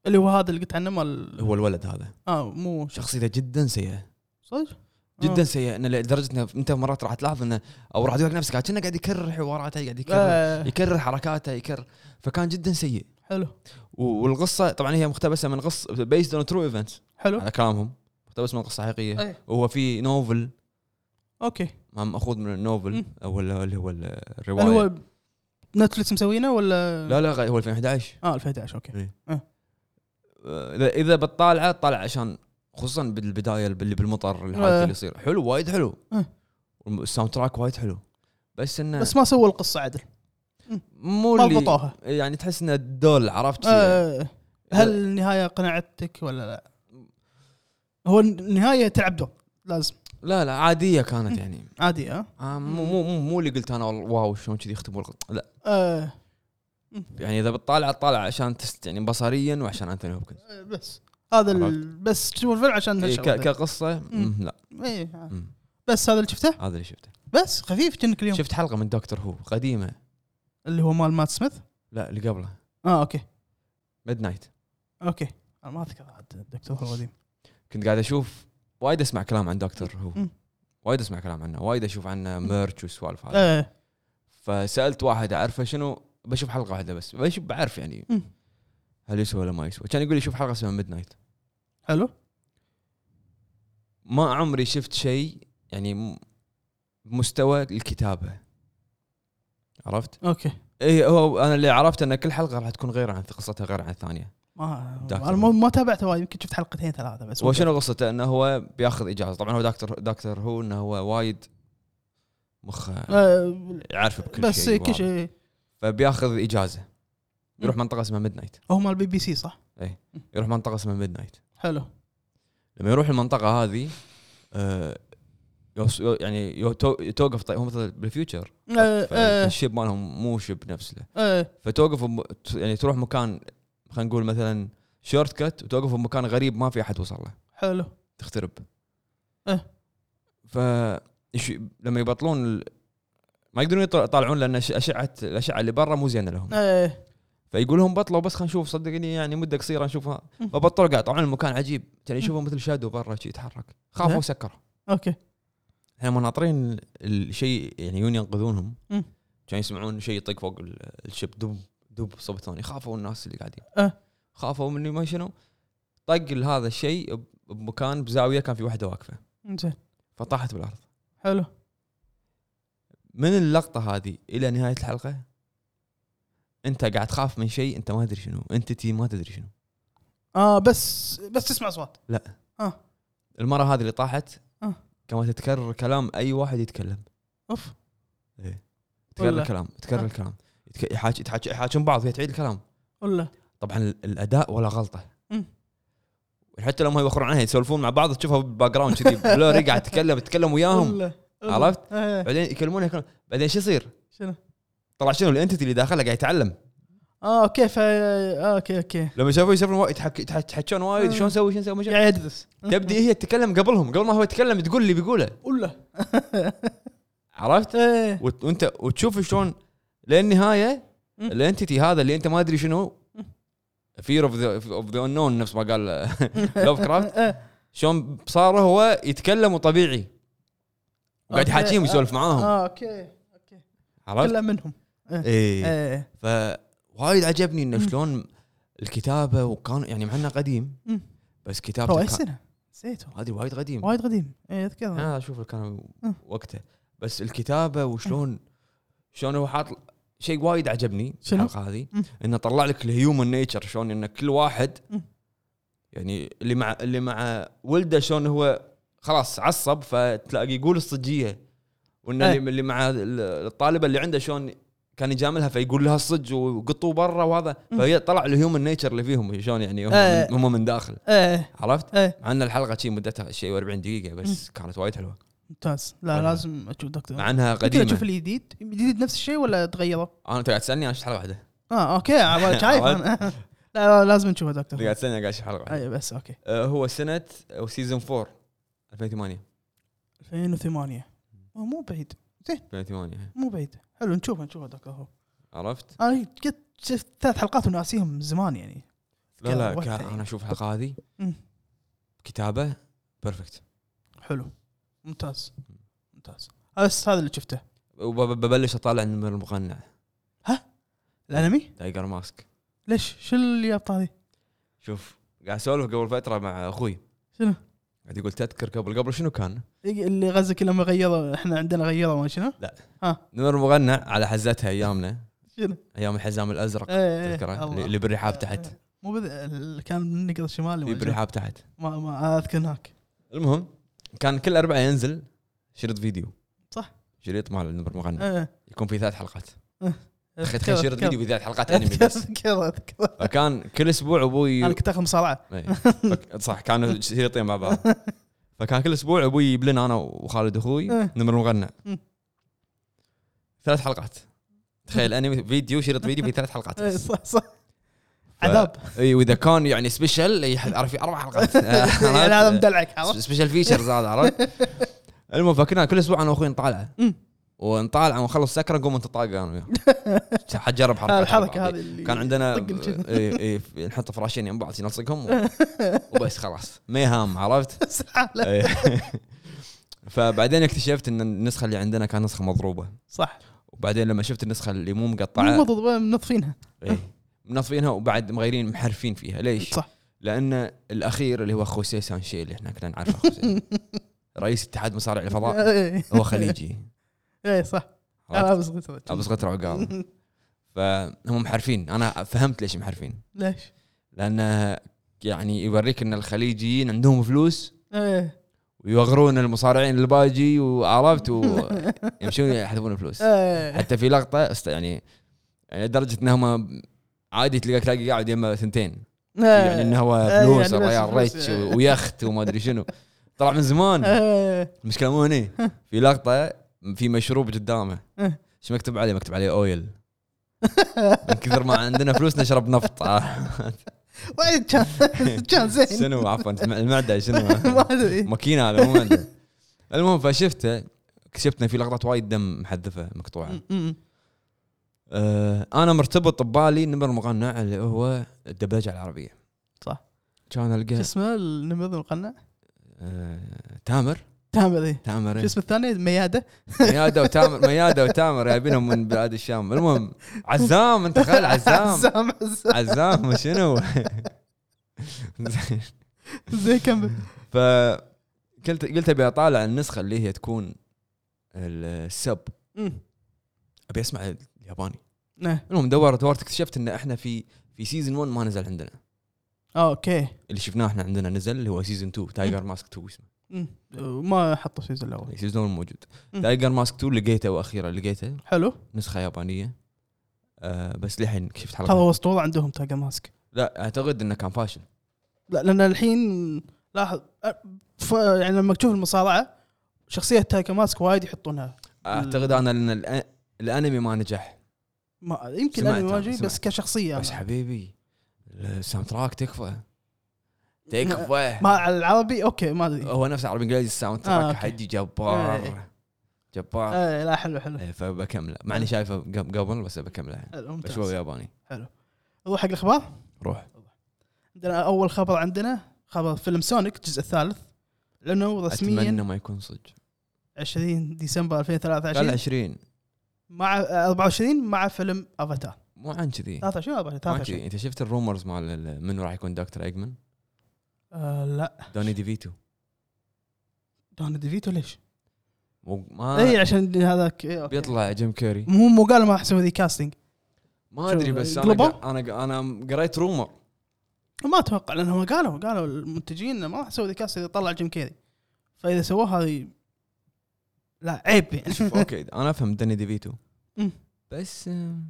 [SPEAKER 1] اللي هو هذا اللي قلت عنه مال
[SPEAKER 2] هو الولد هذا
[SPEAKER 1] اه مو
[SPEAKER 2] شخصيته جدا
[SPEAKER 1] آه.
[SPEAKER 2] سيئه
[SPEAKER 1] صدق؟
[SPEAKER 2] جدا سيئه انه لدرجه انه انت مرات راح تلاحظ انه او راح تقول نفسك كأنه قاعد يكرر حواراته قاعد يكرر
[SPEAKER 1] آه. آه.
[SPEAKER 2] يكرر حركاته يكرر فكان جدا سيء
[SPEAKER 1] حلو
[SPEAKER 2] و- والقصه طبعا هي مقتبسه من قصه بيست اون ترو ايفنتس
[SPEAKER 1] حلو
[SPEAKER 2] على كلامهم مقتبس من قصه حقيقيه
[SPEAKER 1] إيه.
[SPEAKER 2] وهو في نوفل
[SPEAKER 1] اوكي
[SPEAKER 2] ما ماخوذ من النوفل
[SPEAKER 1] مم.
[SPEAKER 2] او ال- اللي هو ال-
[SPEAKER 1] هل
[SPEAKER 2] الروايه
[SPEAKER 1] هو نتفلكس مسوينه ولا
[SPEAKER 2] لا لا غير- هو 2011
[SPEAKER 1] اه 2011 اوكي
[SPEAKER 2] آه، اذا اذا بتطالعه طالع عشان خصوصا بالبدايه اللي بالمطر الحادث
[SPEAKER 1] إيه.
[SPEAKER 2] اللي يصير حلو وايد حلو
[SPEAKER 1] إيه.
[SPEAKER 2] والساوند تراك وايد حلو بس انه
[SPEAKER 1] بس ما سووا القصه عدل
[SPEAKER 2] مو
[SPEAKER 1] ما
[SPEAKER 2] اللي
[SPEAKER 1] ضبطوها
[SPEAKER 2] يعني تحس انه دول عرفت شي.
[SPEAKER 1] آه هل النهايه قنعتك ولا لا؟ هو النهايه تلعب دور لازم
[SPEAKER 2] لا لا عاديه كانت يعني
[SPEAKER 1] عادي ها؟
[SPEAKER 2] آه مو مو مو- مو اللي قلت انا والله واو شلون كذي يختموا الق- لا
[SPEAKER 1] آه
[SPEAKER 2] يعني اذا بتطالع طالع عشان تست يعني بصريا وعشان انتوني هوبكنز
[SPEAKER 1] آه، بس هذا ال... بس تشوف الفيلم عشان
[SPEAKER 2] إيه،
[SPEAKER 1] الشغلة.
[SPEAKER 2] ك- كقصه مم، لا
[SPEAKER 1] إيه،
[SPEAKER 2] مم،
[SPEAKER 1] بس هذا اللي شفته
[SPEAKER 2] هذا اللي شفته
[SPEAKER 1] بس خفيف كأنك اليوم
[SPEAKER 2] شفت حلقه من دكتور هو قديمه
[SPEAKER 1] اللي هو مال مات سميث
[SPEAKER 2] لا اللي قبله
[SPEAKER 1] اه اوكي
[SPEAKER 2] ميد نايت
[SPEAKER 1] اوكي انا ما اذكر عاد الدكتور هو القديم
[SPEAKER 2] كنت قاعد اشوف وايد اسمع كلام عن دكتور هو
[SPEAKER 1] مم.
[SPEAKER 2] وايد اسمع كلام عنه وايد اشوف عنه ميرش وسوالف هذا
[SPEAKER 1] ايه
[SPEAKER 2] فسالت واحد اعرفه شنو بشوف حلقه واحده بس بشوف بعرف يعني
[SPEAKER 1] مم.
[SPEAKER 2] هل يسوى ولا ما يسوى كان يقول لي شوف حلقه اسمها ميد نايت
[SPEAKER 1] حلو
[SPEAKER 2] ما عمري شفت شيء يعني م- مستوى الكتابه عرفت؟
[SPEAKER 1] اوكي
[SPEAKER 2] اي هو انا اللي عرفت ان كل حلقه راح تكون غير عن قصتها غير عن الثانيه
[SPEAKER 1] ما
[SPEAKER 2] دكتور.
[SPEAKER 1] انا مو- ما تابعته وايد يمكن شفت حلقتين ثلاثه بس
[SPEAKER 2] هو شنو قصته انه هو بياخذ اجازه طبعا هو دكتور دكتور هو انه هو وايد مخه
[SPEAKER 1] آه
[SPEAKER 2] يعرف بكل
[SPEAKER 1] بس
[SPEAKER 2] شيء
[SPEAKER 1] إيه، كل شيء
[SPEAKER 2] فبياخذ اجازه يروح
[SPEAKER 1] مم.
[SPEAKER 2] منطقه اسمها ميد نايت
[SPEAKER 1] هو مال بي بي سي صح؟
[SPEAKER 2] يروح منطقه اسمها ميد نايت
[SPEAKER 1] حلو
[SPEAKER 2] لما يروح المنطقه هذه آه، يوص- يو- يعني يو- تو- توقف طي- هم مثلا بالفيوتشر
[SPEAKER 1] آه، آه،
[SPEAKER 2] الشيب مالهم مو شيب نفسه
[SPEAKER 1] آه،
[SPEAKER 2] فتوقف بم- ت- يعني تروح مكان خلينا نقول مثلا شورت كت وتوقف بمكان غريب ما في احد وصل له
[SPEAKER 1] حلو
[SPEAKER 2] تخترب
[SPEAKER 1] إيه.
[SPEAKER 2] ف إيش- لما يبطلون ال- ما يقدرون يط- يطالعون لان أش- اشعه الاشعه اللي برا مو زينه لهم
[SPEAKER 1] ايه
[SPEAKER 2] فيقول لهم بطلوا بس خلينا نشوف صدقني يعني مده قصيره نشوفها
[SPEAKER 1] مم.
[SPEAKER 2] فبطلوا قاعد طبعا المكان عجيب كان يشوفوا مثل شادو برا شي يتحرك خافوا
[SPEAKER 1] إيه.
[SPEAKER 2] وسكروا
[SPEAKER 1] اوكي
[SPEAKER 2] احنا ما ناطرين ال- الشيء يعني يجون ينقذونهم
[SPEAKER 1] مم.
[SPEAKER 2] كان يسمعون شيء يطق فوق ال- الشب دب دب صوب ثاني خافوا الناس اللي قاعدين
[SPEAKER 1] أه.
[SPEAKER 2] خافوا من ما شنو طق هذا الشيء ب- بمكان بزاويه كان في واحده واقفه
[SPEAKER 1] زين
[SPEAKER 2] فطاحت بالارض
[SPEAKER 1] حلو
[SPEAKER 2] من اللقطه هذه الى نهايه الحلقه انت قاعد تخاف من شيء انت ما تدري شنو انتيتي ما تدري شنو
[SPEAKER 1] اه بس بس تسمع اصوات
[SPEAKER 2] المره هذه اللي طاحت
[SPEAKER 1] أه.
[SPEAKER 2] كما تتكرر كلام اي واحد يتكلم
[SPEAKER 1] اوف
[SPEAKER 2] تكرر
[SPEAKER 1] ولا.
[SPEAKER 2] الكلام تكرر
[SPEAKER 1] أه.
[SPEAKER 2] الكلام يتك- يحاج يتحاج- يحاجون بعض هي تعيد الكلام
[SPEAKER 1] ولا
[SPEAKER 2] طبعا ال- الاداء ولا غلطه
[SPEAKER 1] مم.
[SPEAKER 2] حتى لو ما يوخرون عنها يسولفون مع بعض تشوفها بالباك جراوند كذي بلوري قاعد تتكلم تتكلم وياهم
[SPEAKER 1] ولا- ولا.
[SPEAKER 2] عرفت؟
[SPEAKER 1] إيه،
[SPEAKER 2] بعدين يكلمونها يكلمون. بعدين شو يصير؟
[SPEAKER 1] شنو؟
[SPEAKER 2] طلع شنو الانتيتي اللي داخلها قاعد يتعلم
[SPEAKER 1] اه اوكي ف آه، اوكي اوكي
[SPEAKER 2] لما شافوا يسولفون وايد يتحك- يتح- يتحكون وايد
[SPEAKER 1] مم.
[SPEAKER 2] شلون نسوي شلون نسوي ما شلون-
[SPEAKER 1] قاعد يدرس
[SPEAKER 2] تبدي هي تتكلم قبلهم قبل ما هو يتكلم تقول اللي بيقوله
[SPEAKER 1] ولا
[SPEAKER 2] عرفت؟
[SPEAKER 1] ايه
[SPEAKER 2] وت- وانت وتشوف شلون للنهايه
[SPEAKER 1] مم.
[SPEAKER 2] الانتيتي هذا اللي انت ما ادري شنو
[SPEAKER 1] مم.
[SPEAKER 2] فير اوف ذا اوف ذا نون نفس ما قال لوف كرافت
[SPEAKER 1] إيه.
[SPEAKER 2] شلون صار هو يتكلم وطبيعي وقاعد
[SPEAKER 1] أوكي.
[SPEAKER 2] يحاكيهم يسولف معاهم
[SPEAKER 1] اه اوكي
[SPEAKER 2] عرفت؟
[SPEAKER 1] كلها منهم
[SPEAKER 2] ايه
[SPEAKER 1] ايه
[SPEAKER 2] فوايد عجبني انه
[SPEAKER 1] مم.
[SPEAKER 2] شلون الكتابه وكان يعني مع انه قديم
[SPEAKER 1] مم.
[SPEAKER 2] بس
[SPEAKER 1] هو
[SPEAKER 2] كتابته
[SPEAKER 1] اي
[SPEAKER 2] كان-
[SPEAKER 1] سنه نسيت والله.
[SPEAKER 2] هذه وايد قديم
[SPEAKER 1] وايد قديم إيه، اي اذكر
[SPEAKER 2] انا اشوف كان
[SPEAKER 1] مم.
[SPEAKER 2] وقته بس الكتابه
[SPEAKER 1] آه.
[SPEAKER 2] وشلون شلون هو حاط شيء وايد عجبني في
[SPEAKER 1] شنو؟
[SPEAKER 2] الحلقه هذه
[SPEAKER 1] مم.
[SPEAKER 2] انه طلع لك الهيومن نيتشر شلون ان كل واحد
[SPEAKER 1] مم.
[SPEAKER 2] يعني اللي مع اللي مع ولده شلون هو خلاص عصب فتلاقي يقول الصجيه وان
[SPEAKER 1] أي.
[SPEAKER 2] اللي, اللي مع ال- الطالبه اللي عنده شلون كان يجاملها فيقول لها الصج وقطوه برا وهذا
[SPEAKER 1] مم. إيه.
[SPEAKER 2] فهي طلع الهيومن نيتشر اللي فيهم شلون يعني هم,
[SPEAKER 1] أي.
[SPEAKER 2] من- هم من داخل
[SPEAKER 1] ايه
[SPEAKER 2] عرفت؟
[SPEAKER 1] ايه
[SPEAKER 2] مع ان الحلقه شي مدتها شيء 40 دقيقه بس كانت وايد حلوه
[SPEAKER 1] ممتاز
[SPEAKER 2] ولا.
[SPEAKER 1] لا لازم اشوف دكتور
[SPEAKER 2] آه. مع انها
[SPEAKER 1] يمكن
[SPEAKER 2] قديمه
[SPEAKER 1] اشوف الجديد الجديد نفس الشيء ولا تغيروا؟
[SPEAKER 2] انا انت قاعد تسالني انا شفت حلقه واحده
[SPEAKER 1] اه اوكي عبا- شايف أنا. لا لا، لازم نشوفه دكتور
[SPEAKER 2] انت قاعد تسالني أنا قاعد شفت حلقه واحده
[SPEAKER 1] اي بس اوكي
[SPEAKER 2] أه هو سنه أو سيزون 4 2008
[SPEAKER 1] 2008 آه، مو بعيد
[SPEAKER 2] 2008
[SPEAKER 1] مو بعيد حلو نشوفه نشوفه دكتور هو
[SPEAKER 2] إيه. عرفت؟
[SPEAKER 1] انا قد شفت ثلاث حلقات وناسيهم من زمان يعني
[SPEAKER 2] لا لا
[SPEAKER 1] كان
[SPEAKER 2] كا-
[SPEAKER 1] وقتها
[SPEAKER 2] انا اشوف الحلقه هذه
[SPEAKER 1] مم.
[SPEAKER 2] كتابه بيرفكت
[SPEAKER 1] حلو ممتاز ممتاز بس هذا اللي شفته
[SPEAKER 2] وببلش اطالع من المقنع
[SPEAKER 1] الانمي
[SPEAKER 2] تايجر ماسك
[SPEAKER 1] ليش شو اللي جاب هذه؟
[SPEAKER 2] شوف قاعد اسولف قبل فتره مع اخوي
[SPEAKER 1] شنو؟
[SPEAKER 2] قاعد يقول تذكر قبل قبل شنو كان؟
[SPEAKER 1] إيه، اللي غزك لما غيروا احنا عندنا غيروا ما شنو؟
[SPEAKER 2] نمر مغنى على حزتها ايامنا
[SPEAKER 1] شنو؟
[SPEAKER 2] ايام الحزام الازرق
[SPEAKER 1] ايه
[SPEAKER 2] تذكره
[SPEAKER 1] الله. إيه،
[SPEAKER 2] اللي اللي بالرحاب تحت
[SPEAKER 1] مو بذ... ال- كان النقل الشمالي
[SPEAKER 2] في
[SPEAKER 1] ما
[SPEAKER 2] بالرحاب تحت
[SPEAKER 1] ما, ما اذكر هناك
[SPEAKER 2] المهم كان كل اربعاء ينزل شريط فيديو
[SPEAKER 1] صح.
[SPEAKER 2] شريط مال نمر مغنى
[SPEAKER 1] ايه
[SPEAKER 2] يكون فيه ثلاث حلقات
[SPEAKER 1] إيه.
[SPEAKER 2] تخيل تخيل شريط فيديو بالذات حلقات انمي
[SPEAKER 1] اذكر
[SPEAKER 2] بس
[SPEAKER 1] اذكر اذكر
[SPEAKER 2] فكان كل اسبوع ابوي
[SPEAKER 1] انا كنت اخذ مصارعه
[SPEAKER 2] إيه. فك- صح كانوا شريطين مع بعض فكان كل اسبوع ابوي يجيب لنا انا وخالد اخوي
[SPEAKER 1] إيه.
[SPEAKER 2] نمر مغنى
[SPEAKER 1] مم.
[SPEAKER 2] ثلاث حلقات تخيل انمي فيديو شريط فيديو في ثلاث حلقات
[SPEAKER 1] إيه،
[SPEAKER 2] بس.
[SPEAKER 1] صح صح عذاب
[SPEAKER 2] اي واذا كان يعني سبيشل يعرف في اربع حلقات
[SPEAKER 1] يعني هذا مدلعك عرفت؟
[SPEAKER 2] سبيشل فيشرز هذا عرفت المهم فكنا كل اسبوع انا واخوي نطالعه
[SPEAKER 1] مم.
[SPEAKER 2] ونطالعه ونخلص سكره نقوم نتطاق انا وياه حتجرب حركات على
[SPEAKER 1] الحركه
[SPEAKER 2] بعض.
[SPEAKER 1] هذه اللي
[SPEAKER 2] كان عندنا
[SPEAKER 1] طق الجن.
[SPEAKER 2] اي اي نحط فراشين يم بعض نلصقهم و- وبس خلاص ما يهام عرفت؟
[SPEAKER 1] سحالة.
[SPEAKER 2] إيه. فبعدين اكتشفت ان النسخه اللي عندنا كانت نسخه مضروبه
[SPEAKER 1] صح
[SPEAKER 2] وبعدين لما شفت النسخه اللي مو
[SPEAKER 1] مو
[SPEAKER 2] مقطعه
[SPEAKER 1] مضبوط منطفينها
[SPEAKER 2] إيه، منظفينها وبعد مغيرين محرفين فيها ليش؟
[SPEAKER 1] صح
[SPEAKER 2] لان الاخير اللي هو خوسيه سانشي اللي احنا كنا نعرفه خوسيه رئيس اتحاد مصارع الفضاء
[SPEAKER 1] إيه.
[SPEAKER 2] هو خليجي
[SPEAKER 1] ايه صح انا
[SPEAKER 2] عرفت؟
[SPEAKER 1] ابس غير
[SPEAKER 2] ابو صغتر عقال فهم محرفين انا فهمت ليش محرفين
[SPEAKER 1] ليش؟
[SPEAKER 2] لان يعني يوريك ان الخليجيين عندهم فلوس
[SPEAKER 1] ايه
[SPEAKER 2] ويوغرون المصارعين الباجي وعرفت ويمشون يحذفون الفلوس
[SPEAKER 1] ايه
[SPEAKER 2] حتى في لقطه است- يعني يعني لدرجه انهم عادي تلقى تلاقي قاعد يما ثنتين يعني انه هو
[SPEAKER 1] إيه،
[SPEAKER 2] فلوس
[SPEAKER 1] يعني بس
[SPEAKER 2] ريال
[SPEAKER 1] فلوس،
[SPEAKER 2] ريتش
[SPEAKER 1] إيه.
[SPEAKER 2] ويخت وما ادري شنو طلع من زمان
[SPEAKER 1] إيه.
[SPEAKER 2] المشكله مو هني في لقطه في مشروب قدامه
[SPEAKER 1] إيه.
[SPEAKER 2] ايش مكتوب عليه؟ مكتوب عليه اويل من كثر ما عندنا فلوس نشرب نفط آه.
[SPEAKER 1] وايد كان كان زين
[SPEAKER 2] شنو عفوا المعده شنو
[SPEAKER 1] ما ادري
[SPEAKER 2] ماكينه هذا مو معدن. المهم فشفته اكتشفت ان في لقطات وايد دم محذفه مقطوعه
[SPEAKER 1] م- م.
[SPEAKER 2] أه انا مرتبط ببالي نمر مقنع اللي هو الدبلجه العربيه
[SPEAKER 1] صح.
[SPEAKER 2] كان
[SPEAKER 1] شو
[SPEAKER 2] القى
[SPEAKER 1] اسمه النمذ القناع
[SPEAKER 2] أه تامر
[SPEAKER 1] تامر ذي
[SPEAKER 2] تامر
[SPEAKER 1] شو
[SPEAKER 2] إيه.
[SPEAKER 1] اسمه الثاني مياده
[SPEAKER 2] مياده وتامر مياده وتامر جايبينهم من بلاد الشام المهم عزام انت خل عزام
[SPEAKER 1] عزام عزام
[SPEAKER 2] عزام شنو زين.
[SPEAKER 1] زين كمل
[SPEAKER 2] فقلت قلت ابي اطالع النسخه اللي هي تكون السب
[SPEAKER 1] م.
[SPEAKER 2] ابي اسمع الياباني
[SPEAKER 1] إيه.
[SPEAKER 2] المهم دورت دورت اكتشفت ان احنا في في سيزون 1 ما نزل عندنا
[SPEAKER 1] اوكي
[SPEAKER 2] اللي شفناه احنا عندنا نزل اللي هو سيزون 2 تايجر ماسك 2 اسمه
[SPEAKER 1] م. ما حطوا السيزون الاول
[SPEAKER 2] سيزون 1 موجود
[SPEAKER 1] مم.
[SPEAKER 2] تايجر ماسك 2 لقيته واخيرا لقيته
[SPEAKER 1] حلو
[SPEAKER 2] نسخه يابانيه آه بس لحين شفت
[SPEAKER 1] هذا
[SPEAKER 2] حلقه
[SPEAKER 1] هو اسطوره عندهم تاجر ماسك
[SPEAKER 2] لا اعتقد انه كان فاشل
[SPEAKER 1] لا لان الحين لاحظ أ- ف- يعني لما تشوف المصارعه شخصيه تايكا ماسك وايد يحطونها
[SPEAKER 2] اعتقد انا ان الأ- الانمي ما نجح
[SPEAKER 1] ما يمكن
[SPEAKER 2] سمعت
[SPEAKER 1] انا
[SPEAKER 2] أنا،
[SPEAKER 1] واجي
[SPEAKER 2] سمعت.
[SPEAKER 1] بس كشخصيه
[SPEAKER 2] بس
[SPEAKER 1] أنا.
[SPEAKER 2] حبيبي الساوند تراك تكفى تكفى
[SPEAKER 1] ما على العربي اوكي ما ادري
[SPEAKER 2] هو نفسه عربي انجليزي الساوند
[SPEAKER 1] آه،
[SPEAKER 2] تراك
[SPEAKER 1] أوكي.
[SPEAKER 2] حجي جبار
[SPEAKER 1] إيه.
[SPEAKER 2] جبار
[SPEAKER 1] آه لا حلو حلو
[SPEAKER 2] إيه، فبكمله مع اني شايفه قب- قبل بس بكمله
[SPEAKER 1] حلو،
[SPEAKER 2] بشوف
[SPEAKER 1] ممتاز
[SPEAKER 2] ياباني
[SPEAKER 1] نروح حق الاخبار
[SPEAKER 2] روح
[SPEAKER 1] عندنا اول خبر عندنا خبر فيلم سونيك الجزء الثالث لانه
[SPEAKER 2] اتمنى
[SPEAKER 1] رسميا
[SPEAKER 2] ما يكون صدق
[SPEAKER 1] 20 ديسمبر
[SPEAKER 2] قال
[SPEAKER 1] 2023
[SPEAKER 2] 20
[SPEAKER 1] مع آه، 24 مع فيلم افاتار
[SPEAKER 2] مو عن كذي مو
[SPEAKER 1] 23 ولا 24
[SPEAKER 2] عن
[SPEAKER 1] 23
[SPEAKER 2] كذي انت شفت الرومرز مال ال- منو راح يكون دكتور ايجمان
[SPEAKER 1] آه لا
[SPEAKER 2] دوني ديفيتو
[SPEAKER 1] دون ديفيتو ليش؟
[SPEAKER 2] مو- ما
[SPEAKER 1] اي عشان هذاك إيه، أوكي.
[SPEAKER 2] آه. بيطلع جيم كيري
[SPEAKER 1] مو مو قالوا ما راح يسوي ذي كاستنج
[SPEAKER 2] ما
[SPEAKER 1] شو،
[SPEAKER 2] ادري بس انا
[SPEAKER 1] يقلبه؟
[SPEAKER 2] قا- انا قا- انا قريت رومر
[SPEAKER 1] ما اتوقع لانهم قالوا قالوا المنتجين إنه ما راح يسوي ذي كاستنج اذا طلع جيم كيري فاذا سووها هذه لا عيب يعني
[SPEAKER 2] شوف اوكي انا افهم دوني ديفيتو
[SPEAKER 1] مم.
[SPEAKER 2] بس آم،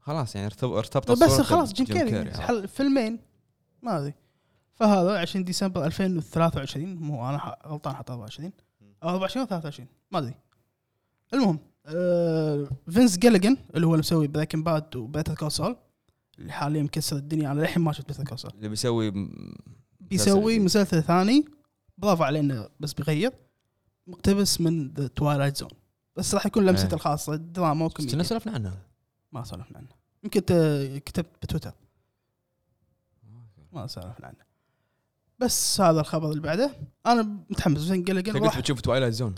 [SPEAKER 2] خلاص يعني ارتب- ارتبطت
[SPEAKER 1] بس
[SPEAKER 2] صورته
[SPEAKER 1] خلاص يعني. جيم كيري
[SPEAKER 2] عرفت؟
[SPEAKER 1] حل فيلمين ما ادري فهذا 20 ديسمبر 2023 مو انا ح- غلطان حط 24 او 24 23 ما ادري المهم آه فينس جيليجن اللي هو اللي مسوي بريكن باد وبيتر كونسول اللي حاليا مكسر الدنيا انا للحين ما شفت بيتر كونسول
[SPEAKER 2] اللي بيسوي م-
[SPEAKER 1] بيسوي
[SPEAKER 2] مسلسل
[SPEAKER 1] مسلسل ثاني برافو علينا بس بيغير مقتبس من ذا توايلايت زون بس راح يكون لمسته
[SPEAKER 2] إيه.
[SPEAKER 1] الخاصه دراما
[SPEAKER 2] جديد. كنا
[SPEAKER 1] وكوميديا
[SPEAKER 2] سولفنا عنه
[SPEAKER 1] ما سولفنا عنه يمكن ت- كتبت بتويتر ما سولفنا عنه بس هذا الخبر اللي بعده انا متحمس زين
[SPEAKER 2] انت
[SPEAKER 1] قلقل
[SPEAKER 2] قلت
[SPEAKER 1] راح
[SPEAKER 2] بتشوف توايلايت زون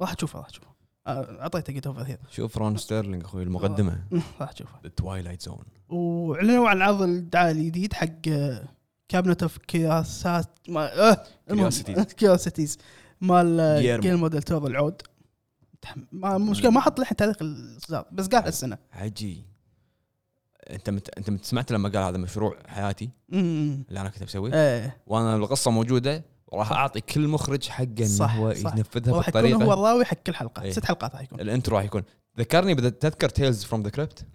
[SPEAKER 1] راح اشوفه راح اشوفه آه، اعطيته جيت اوفر هير
[SPEAKER 2] شوف رون ستيرلينج اخوي المقدمه
[SPEAKER 1] راح اشوفه
[SPEAKER 2] توايلايت زون
[SPEAKER 1] واعلنوا عن عرض الدعايه الجديد حق آه، كابنت اوف كياسات ما آه، المهم.
[SPEAKER 2] Curiosities.
[SPEAKER 1] Curiosities. مال آه،
[SPEAKER 2] Guillermo.
[SPEAKER 1] جيل موديل تور العود متحم- ما مشكله ما حط لحين تاريخ الاصدار بس قال السنه
[SPEAKER 2] عجي انت مت... انت مت- سمعت لما قال هذا مشروع حياتي
[SPEAKER 1] امم
[SPEAKER 2] اللي انا كنت بسويه
[SPEAKER 1] ايه
[SPEAKER 2] وانا القصه موجوده وراح اعطي كل مخرج حقه انه
[SPEAKER 1] صح،
[SPEAKER 2] هو
[SPEAKER 1] صح.
[SPEAKER 2] ينفذها
[SPEAKER 1] وراح يكون هو
[SPEAKER 2] بالطريقه
[SPEAKER 1] الراوي حق كل حلقه
[SPEAKER 2] إيه.
[SPEAKER 1] ست حلقات راح يكون
[SPEAKER 2] الانترو راح يكون ذكرني بدا تذكر تيلز فروم ذا كريبت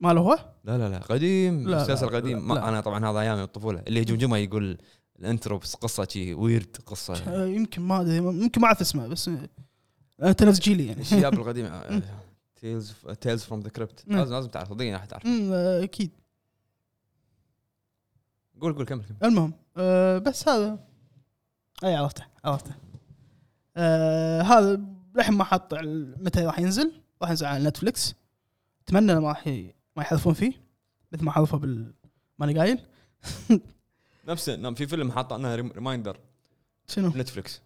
[SPEAKER 1] ماله هو؟
[SPEAKER 2] لا لا لا قديم
[SPEAKER 1] لا،
[SPEAKER 2] مسلسل
[SPEAKER 1] لا،
[SPEAKER 2] قديم
[SPEAKER 1] لا،
[SPEAKER 2] ما
[SPEAKER 1] لا.
[SPEAKER 2] انا طبعا هذا ايام الطفوله اللي يجمجمه يقول الانترو بس قصه شي ويرد قصه
[SPEAKER 1] آه، يمكن ما ادري يمكن ما اعرف اسمه بس آه، انت نفس جيلي يعني
[SPEAKER 2] الشياب القديم آه، تيلز تيلز فروم ذا كريبت
[SPEAKER 1] نعم.
[SPEAKER 2] لازم لازم تعرف صدقني راح تعرف
[SPEAKER 1] أمم، آه، اكيد
[SPEAKER 2] قول قول كمل كمل
[SPEAKER 1] المهم أه بس هذا اي عرفته عرفته أه هذا للحين ما حط ال- متى راح ينزل راح ينزل على نتفلكس اتمنى ما راح ي- ما يحذفون فيه مثل ما حذفوا بال ماني قايل
[SPEAKER 2] نفسه نعم، في فيلم حاط لنا ريمايندر
[SPEAKER 1] شنو
[SPEAKER 2] نتفلكس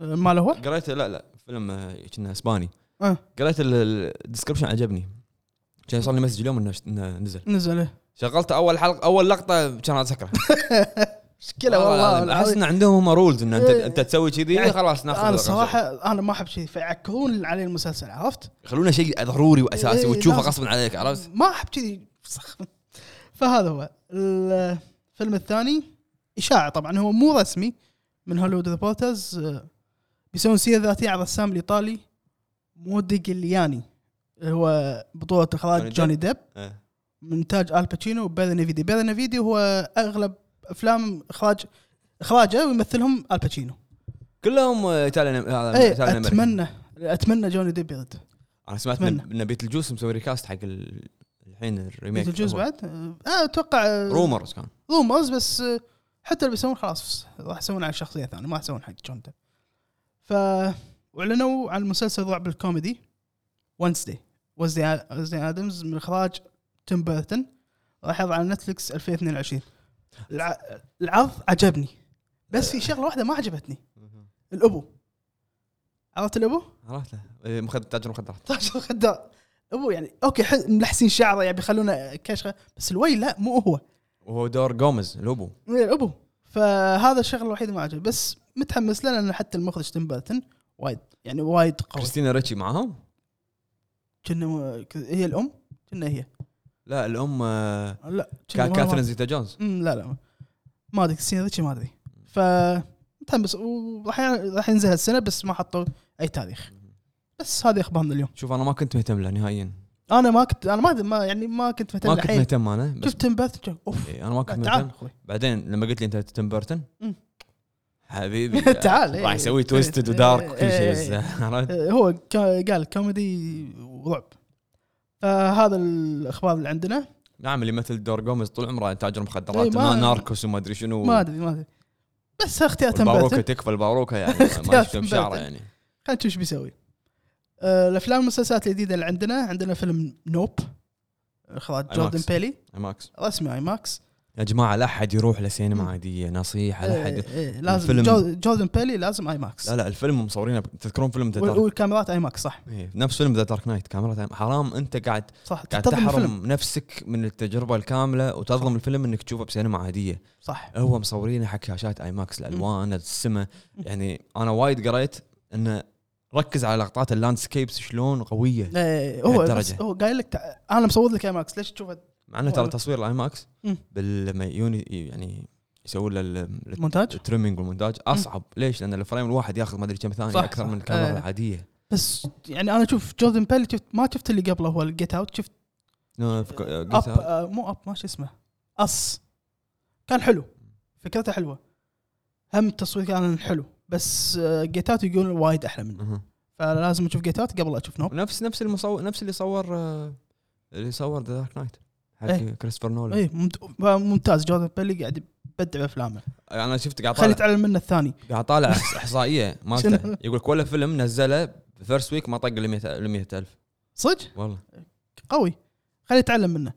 [SPEAKER 1] أه ماله هو
[SPEAKER 2] قريته لا لا فيلم آه، كنا اسباني
[SPEAKER 1] آه.
[SPEAKER 2] قريت الديسكربشن عجبني كان صار لي مسج اليوم انه إنه نزل
[SPEAKER 1] نزله
[SPEAKER 2] شغلت اول حلقه اول لقطه كان اسكره
[SPEAKER 1] مشكله والله
[SPEAKER 2] العظيم. احس
[SPEAKER 1] العظيم.
[SPEAKER 2] ان عندهم هم رولز ان انت
[SPEAKER 1] إيه.
[SPEAKER 2] انت تسوي كذي
[SPEAKER 1] يعني
[SPEAKER 2] خلاص ناخذ
[SPEAKER 1] انا
[SPEAKER 2] الرقم.
[SPEAKER 1] الصراحه انا ما احب شيء فيعكرون علي المسلسل عرفت؟
[SPEAKER 2] يخلونه شيء ضروري واساسي
[SPEAKER 1] إيه،
[SPEAKER 2] وتشوفه
[SPEAKER 1] لازم.
[SPEAKER 2] غصبا عليك عرفت؟
[SPEAKER 1] ما احب كذي فهذا هو الفيلم الثاني اشاعه طبعا هو مو رسمي من هوليوود ريبورترز آه، بيسوون سيره ذاتيه على الرسام الايطالي مودي جلياني اللي هو بطوله
[SPEAKER 2] جوني
[SPEAKER 1] اخراج
[SPEAKER 2] ديب.
[SPEAKER 1] جوني ديب
[SPEAKER 2] إيه.
[SPEAKER 1] من انتاج الباتشينو وبيرنيفيدي بيرنيفيدي هو اغلب افلام اخراج اخراجه ويمثلهم الباتشينو
[SPEAKER 2] كلهم آه، ايطاليان هذا
[SPEAKER 1] ايه
[SPEAKER 2] إيطاليان أمريكي.
[SPEAKER 1] اتمنى اتمنى جوني ديب يرد
[SPEAKER 2] انا سمعت
[SPEAKER 1] أتمنى.
[SPEAKER 2] ان بيت الجوس مسوي ريكاست حق ال- الحين الريميك
[SPEAKER 1] الجزء
[SPEAKER 2] هو.
[SPEAKER 1] بعد آه اتوقع آه،
[SPEAKER 2] رومرز كان
[SPEAKER 1] رومرز بس آه، حتى اللي بيسوون خلاص راح يسوون على شخصيه ثانيه ما راح يسوون حق جون ديب ف واعلنوا عن مسلسل الرعب الكوميدي وينسداي وينسداي ادمز من اخراج تيم بيرتون راح يظهر على نتفلكس 2022 الع... العرض عجبني بس في شغله واحده ما عجبتني الابو عرفت الابو؟
[SPEAKER 2] عرفته إيه، مخد تاجر مخدرات
[SPEAKER 1] طاجر خدار ابو يعني اوكي حل... ملحسين شعره يعني بيخلونه كشخه بس الوي لا مو هو
[SPEAKER 2] وهو دور جوميز الابو
[SPEAKER 1] إيه، ابو فهذا الشغله الوحيده ما عجبني بس متحمس له لان حتى المخرج تيم باتن وايد يعني وايد قوي
[SPEAKER 2] كريستينا ريتشي معاهم؟
[SPEAKER 1] كنا م- ك- هي الام كنا هي
[SPEAKER 2] لا الام آه،
[SPEAKER 1] لا كنا
[SPEAKER 2] كا-
[SPEAKER 1] ما-
[SPEAKER 2] كاثرين زيتا جونز
[SPEAKER 1] ما- أمم، لا لا ما ادري السنه ذيك ما ادري ف متحمس وراح ي- راح ينزل هالسنه بس ما حطوا اي تاريخ بس هذه اخبارنا اليوم
[SPEAKER 2] شوف انا ما كنت مهتم له نهائيا
[SPEAKER 1] انا ما كنت انا ما أدري- ما يعني ما كنت مهتم
[SPEAKER 2] ما كنت
[SPEAKER 1] الحين
[SPEAKER 2] مهتم انا بس
[SPEAKER 1] شفت تيم باتن اوف
[SPEAKER 2] إيه، انا ما كنت
[SPEAKER 1] لا،
[SPEAKER 2] مهتم
[SPEAKER 1] تعال اخوي
[SPEAKER 2] بعدين لما قلت لي انت تيم بيرتون
[SPEAKER 1] مم.
[SPEAKER 2] حبيبي
[SPEAKER 1] تعال، إيه.
[SPEAKER 2] راح يسوي تويستد
[SPEAKER 1] إيه،
[SPEAKER 2] ودارك وكل شيء
[SPEAKER 1] إيه،
[SPEAKER 2] بس
[SPEAKER 1] إيه.
[SPEAKER 2] عرفت؟
[SPEAKER 1] هو كا- قال كوميدي ورعب فهذا الاخبار اللي عندنا
[SPEAKER 2] نعم اللي مثل دور جوميز طول عمره يعني تاجر مخدرات
[SPEAKER 1] إيه، ما-
[SPEAKER 2] ناركوس وما ادري شنو
[SPEAKER 1] ما ادري ما ادري بس اختيار
[SPEAKER 2] الباروكه
[SPEAKER 1] تنباتن
[SPEAKER 2] تكفى الباروكه يعني ما
[SPEAKER 1] اختيار
[SPEAKER 2] يشتم شعره
[SPEAKER 1] تنباتن.
[SPEAKER 2] يعني
[SPEAKER 1] خلينا نشوف ايش بيسوي آه، الافلام والمسلسلات الجديده اللي عندنا عندنا فيلم نوب اخراج
[SPEAKER 2] IMAX.
[SPEAKER 1] جوردن بيلي
[SPEAKER 2] ماكس
[SPEAKER 1] رسمي اي ماكس
[SPEAKER 2] يا جماعه لا احد يروح لسينما
[SPEAKER 1] مم.
[SPEAKER 2] عاديه نصيحه لا
[SPEAKER 1] آه،
[SPEAKER 2] احد
[SPEAKER 1] آه، لازم
[SPEAKER 2] الفيلم-
[SPEAKER 1] جو- جوردن بيلي لازم اي ماكس
[SPEAKER 2] لا لا الفيلم مصورينه ب- تذكرون فيلم ذا دارك
[SPEAKER 1] والكاميرات اي ماكس صح
[SPEAKER 2] إيه، نفس فيلم ذا دارك نايت كاميرا حرام انت قاعد
[SPEAKER 1] صح
[SPEAKER 2] قاعد
[SPEAKER 1] تنتظم الفيلم
[SPEAKER 2] تحرم نفسك من التجربه الكامله وتظلم الفيلم انك تشوفه بسينما عاديه
[SPEAKER 1] صح
[SPEAKER 2] هو مصورينه حق شاشات اي ماكس الالوان السما يعني انا وايد قريت انه ركز على لقطات اللاندسكيبس شلون قويه
[SPEAKER 1] آه، هو بس
[SPEAKER 2] لهالدرجة.
[SPEAKER 1] هو قايل لك تع- انا مصور لك اي ماكس ليش تشوف
[SPEAKER 2] مع انه ترى تصوير الاي ماكس
[SPEAKER 1] مم.
[SPEAKER 2] لما يوني يعني يسوون له ال- ال-
[SPEAKER 1] المونتاج
[SPEAKER 2] التريمينج والمونتاج اصعب ليش؟ لان الفريم الواحد ياخذ ما ادري كم ثانيه
[SPEAKER 1] صح،
[SPEAKER 2] اكثر
[SPEAKER 1] صح.
[SPEAKER 2] من الكاميرا
[SPEAKER 1] آه.
[SPEAKER 2] العاديه
[SPEAKER 1] بس يعني انا اشوف جوردن بيل شفت ما شفت اللي قبله هو الجيت اوت شفت
[SPEAKER 2] آه، فك- آه،
[SPEAKER 1] اب
[SPEAKER 2] قلت هذا.
[SPEAKER 1] آه، مو اب ما شو اسمه اس كان حلو فكرته حلوه هم التصوير كان حلو بس جيت اوت يقول وايد احلى منه
[SPEAKER 2] أها.
[SPEAKER 1] فلازم اشوف جيت اوت قبل لا اشوف نوب
[SPEAKER 2] نفس نفس المصور نفس اللي صور آه، اللي صور ذا دارك نايت حق
[SPEAKER 1] إيه.
[SPEAKER 2] كريستوفر نولان
[SPEAKER 1] اي ممت- ممتاز جوردن بيل قاعد يبدع بافلامه
[SPEAKER 2] انا شفت قاعد
[SPEAKER 1] إيه. خلي
[SPEAKER 2] طالع
[SPEAKER 1] تعلم منه الثاني
[SPEAKER 2] قاعد طالع احصائيه
[SPEAKER 1] شنو؟
[SPEAKER 2] مالته يقول لك ولا فيلم نزله فيرست ويك ما طق ال 100 ال 100000
[SPEAKER 1] صدق
[SPEAKER 2] والله
[SPEAKER 1] قوي خلي يتعلم منه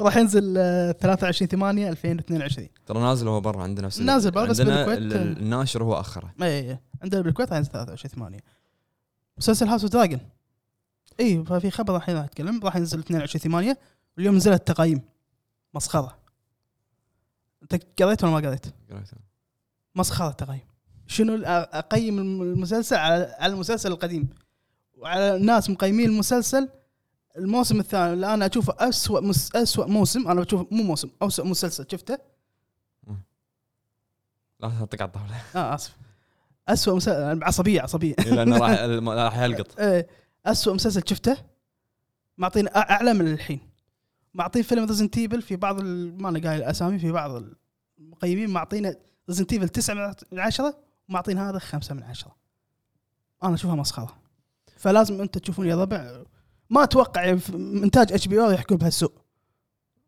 [SPEAKER 1] راح ينزل آه، 23 8 2022
[SPEAKER 2] ترى نازل هو برا عندنا نفس ال-
[SPEAKER 1] نازل برا بس
[SPEAKER 2] عندنا
[SPEAKER 1] بالكويت.
[SPEAKER 2] ال- ال- الناشر هو اخره
[SPEAKER 1] اي اي اي عندنا بالكويت عندنا 23 8 مسلسل هاوس اوف دراجون اي إيه، ففي خبر الحين راح اتكلم راح ينزل 22 8 واليوم نزلت التقايم مسخره انت قريت ولا ما قريت؟
[SPEAKER 2] قريته.
[SPEAKER 1] مسخره تقييم شنو الأ- اقيم الم- المسلسل على على المسلسل القديم وعلى ناس مقيمين المسلسل الموسم الثاني اللي انا اشوفه اسوء مس اسوء موسم انا بشوفه مو موسم اسوء مسلسل شفته
[SPEAKER 2] لا تحطك على الطاوله
[SPEAKER 1] اه اسف اسوء مسلسل عصبيه عصبيه
[SPEAKER 2] لانه راح راح يلقط
[SPEAKER 1] إيه، اسوء مسلسل شفته معطينا أ- اعلى من الحين معطين فيلم ريزنت ايفل في بعض ال- ما انا قايل الاسامي في بعض المقيمين معطينا ريزنت ايفل 9 من 10 ومعطين هذا 5 من 10 انا اشوفها مسخره فلازم انت تشوفون يا ربع ما اتوقع في- انتاج اتش بي او يحكم بهالسوء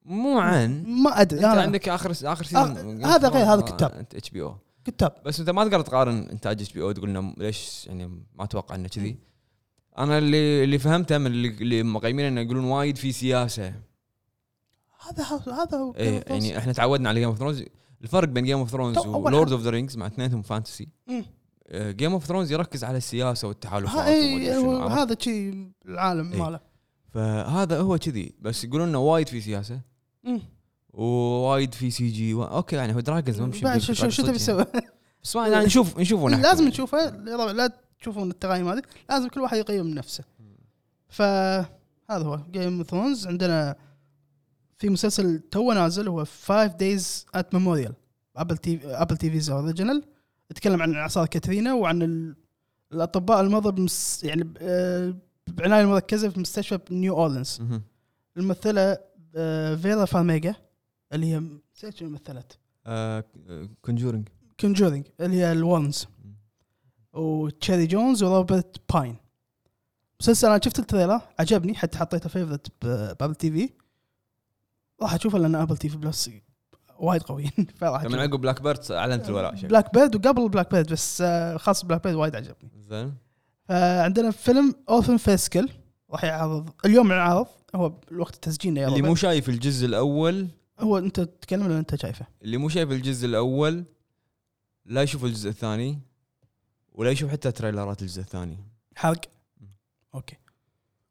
[SPEAKER 2] مو عن
[SPEAKER 1] ما ادري
[SPEAKER 2] انت
[SPEAKER 1] أنا-
[SPEAKER 2] عندك اخر اخر
[SPEAKER 1] آه،
[SPEAKER 2] سيزون
[SPEAKER 1] هذا غير، هذا كتاب.
[SPEAKER 2] اتش بي او
[SPEAKER 1] كتاب
[SPEAKER 2] بس انت ما تقدر تقارن انتاج اتش بي او تقول لنا ليش يعني ما اتوقع انه كذي انا اللي اللي فهمته من اللي- اللي مقيمين انه يقولون وايد في سياسه
[SPEAKER 1] هذا هو- هذا هو
[SPEAKER 2] ايه
[SPEAKER 1] Game of Thrones.
[SPEAKER 2] يعني احنا تعودنا على جيم اوف ثرونز الفرق بين جيم اوف ثرونز
[SPEAKER 1] تو- أول
[SPEAKER 2] ولورد
[SPEAKER 1] حاجة.
[SPEAKER 2] اوف ذا رينجز مع اثنينهم إيه، فانتسي
[SPEAKER 1] أمم.
[SPEAKER 2] جيم اوف ثرونز يركز على السياسه والتحالفات
[SPEAKER 1] ها-
[SPEAKER 2] وما
[SPEAKER 1] إيه،
[SPEAKER 2] أدري شنو،
[SPEAKER 1] هو-
[SPEAKER 2] عرفت؟
[SPEAKER 1] هذا شيء العالم
[SPEAKER 2] إيه.
[SPEAKER 1] ماله
[SPEAKER 2] فهذا هو كذي بس يقولون انه وايد في سياسه
[SPEAKER 1] أمم.
[SPEAKER 2] إيه، ووايد في سي جي و... اوكي يعني هو دراجونز ما
[SPEAKER 1] بعد شو شو- شو تبي تسوي؟
[SPEAKER 2] يعني. بس ما يعني نشوف نشوفه نحكي.
[SPEAKER 1] لازم نشوفه لا- لا تشوفون التقايم هذه لازم كل واحد يقيم نفسه فهذا هو جيم اوف ثرونز عندنا في مسلسل تو نازل هو 5 دايز ات ميموريال ابل تي ابل تي فيز اوريجينال يتكلم عن اعصار كاترينا وعن ال- الاطباء المرضى بمس يعني ب- آه، بعنايه مركزه في مستشفى نيو اورلينز
[SPEAKER 2] مهم.
[SPEAKER 1] الممثله آه، فيرا فارميجا اللي هي نسيت شنو مثلت
[SPEAKER 2] آه كونجورنج
[SPEAKER 1] كونجورينج اللي هي الورنز وتشيري جونز وروبرت باين مسلسل انا شفت التريلر عجبني حتى حطيته فيفرت بابل تي في راح اشوفه لان ابل تي في بلس وايد قويين فراح
[SPEAKER 2] من
[SPEAKER 1] أشوفه.
[SPEAKER 2] عقب بلاك بيرد اعلنت الولاء شكل.
[SPEAKER 1] بلاك بيرد وقبل بلاك بيرد بس آه، خاص بلاك بيرد وايد عجبني
[SPEAKER 2] زين
[SPEAKER 1] آه، عندنا فيلم اورفن فيسكل راح يعرض اليوم ينعرض هو الوقت تسجيلنا يا
[SPEAKER 2] اللي
[SPEAKER 1] ربع.
[SPEAKER 2] مو شايف الجزء الاول
[SPEAKER 1] هو انت تتكلم لان انت شايفه
[SPEAKER 2] اللي مو شايف الجزء الاول لا يشوف الجزء الثاني ولا يشوف حتى تريلرات الجزء الثاني
[SPEAKER 1] حرق اوكي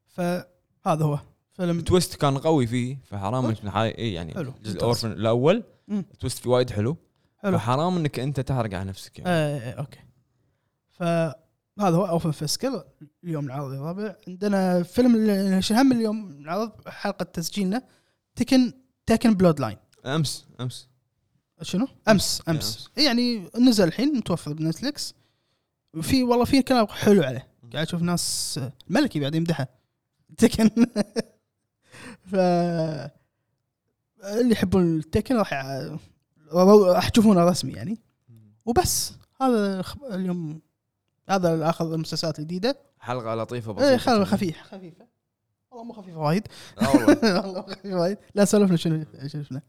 [SPEAKER 1] فهذا هو فيلم
[SPEAKER 2] التويست كان قوي فيه فحرام انك نحاي- اي يعني
[SPEAKER 1] حلو.
[SPEAKER 2] الجزء الاورفن الاول
[SPEAKER 1] مم.
[SPEAKER 2] التويست فيه وايد حلو
[SPEAKER 1] حلو.
[SPEAKER 2] فحرام انك انت تحرق على نفسك يعني.
[SPEAKER 1] ايه ايه اوكي فهذا هو اوفن فيسكل اليوم العرض الرابع عندنا فيلم ال- شو هم اليوم العرض حلقه تسجيلنا تكن تكن بلود لاين
[SPEAKER 2] امس امس
[SPEAKER 1] شنو؟ امس
[SPEAKER 2] إيه،
[SPEAKER 1] امس يعني نزل الحين متوفر بنتفلكس وفي والله في كلام حلو عليه قاعد اشوف ناس الملكي قاعد يمدحه تكن ف اللي يحبون التكن راح يع- راح تشوفونه رسمي يعني وبس هذا الخب- اليوم هذا اخذ المسلسلات الجديده
[SPEAKER 2] حلقه لطيفه بسيطه
[SPEAKER 1] ايه خل-
[SPEAKER 2] كذي.
[SPEAKER 1] خفيف خفيفه والله مو خفيفه وايد
[SPEAKER 2] لا والله
[SPEAKER 1] والله مو خفيفه وايد لا سولفنا شنو شفنا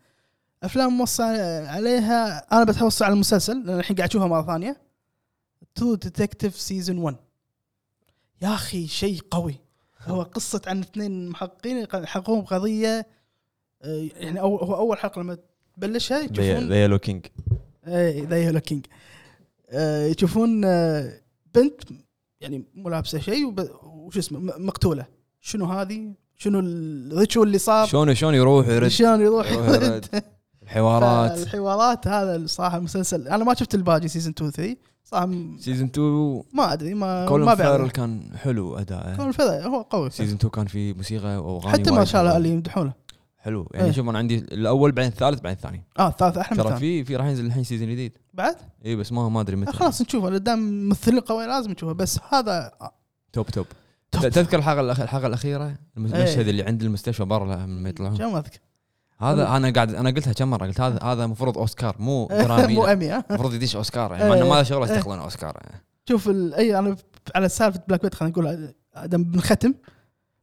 [SPEAKER 1] افلام موصى عليها انا بتحوص على المسلسل لان الحين قاعد اشوفها مره ثانيه تو ديتكتيف سيزون 1 يا اخي شيء قوي هو قصه عن اثنين محققين يحققون قضيه آه، يعني أول هو اول حلقه لما تبلشها يشوفون إيه،
[SPEAKER 2] ذا يلو كينج
[SPEAKER 1] اي ذا يلو كينج آه، يشوفون آه، بنت يعني مو لابسه شيء وب- وش اسمه م- مقتوله شنو هذه؟ شنو الريتشول اللي صار؟
[SPEAKER 2] شلون شلون يروح يرد
[SPEAKER 1] شلون يروح
[SPEAKER 2] يروح
[SPEAKER 1] يرد
[SPEAKER 2] يرد. الحوارات
[SPEAKER 1] الحوارات هذا صراحه المسلسل انا ما شفت الباقي سيزون 2 3 صراحه م-
[SPEAKER 2] سيزون 2
[SPEAKER 1] ما ادري ما آه، ما
[SPEAKER 2] كولن فيرل
[SPEAKER 1] بعرف
[SPEAKER 2] كان حلو اداءه
[SPEAKER 1] كولن فيرل هو قوي
[SPEAKER 2] سيزون 2 كان فيه موسيقى واغاني
[SPEAKER 1] حتى ما
[SPEAKER 2] وايد
[SPEAKER 1] شاء الله
[SPEAKER 2] حلوة.
[SPEAKER 1] اللي يمدحونه
[SPEAKER 2] حلو
[SPEAKER 1] إيه.
[SPEAKER 2] يعني شوف انا عندي الاول بعدين الثالث بعدين الثاني
[SPEAKER 1] اه الثالث احلى من
[SPEAKER 2] ترى
[SPEAKER 1] الثاني
[SPEAKER 2] في في راح ينزل الحين سيزون جديد
[SPEAKER 1] بعد
[SPEAKER 2] اي بس ما ما ادري
[SPEAKER 1] آه،
[SPEAKER 2] متى
[SPEAKER 1] خلاص نشوفه لأن دام ممثلين قوي لازم نشوفه بس هذا آه،
[SPEAKER 2] توب توب
[SPEAKER 1] توب.
[SPEAKER 2] ت- تذكر الحلقه الأخ- الحلقه الاخيره المشهد
[SPEAKER 1] إيه.
[SPEAKER 2] اللي عند المستشفى برا لما ما يطلعون
[SPEAKER 1] شو ما اذكر
[SPEAKER 2] هذا انا قاعد انا قلتها كم مره قلت هذا هذا المفروض اوسكار مو
[SPEAKER 1] إيه، مو
[SPEAKER 2] درامي
[SPEAKER 1] امي ها
[SPEAKER 2] المفروض يدش اوسكار
[SPEAKER 1] إيه.
[SPEAKER 2] يعني ما- ما له شغل
[SPEAKER 1] إيه.
[SPEAKER 2] يستقلون اوسكار يعني.
[SPEAKER 1] شوف ال- اي انا على سالفه بلاك بيت خلينا نقول ادم بنختم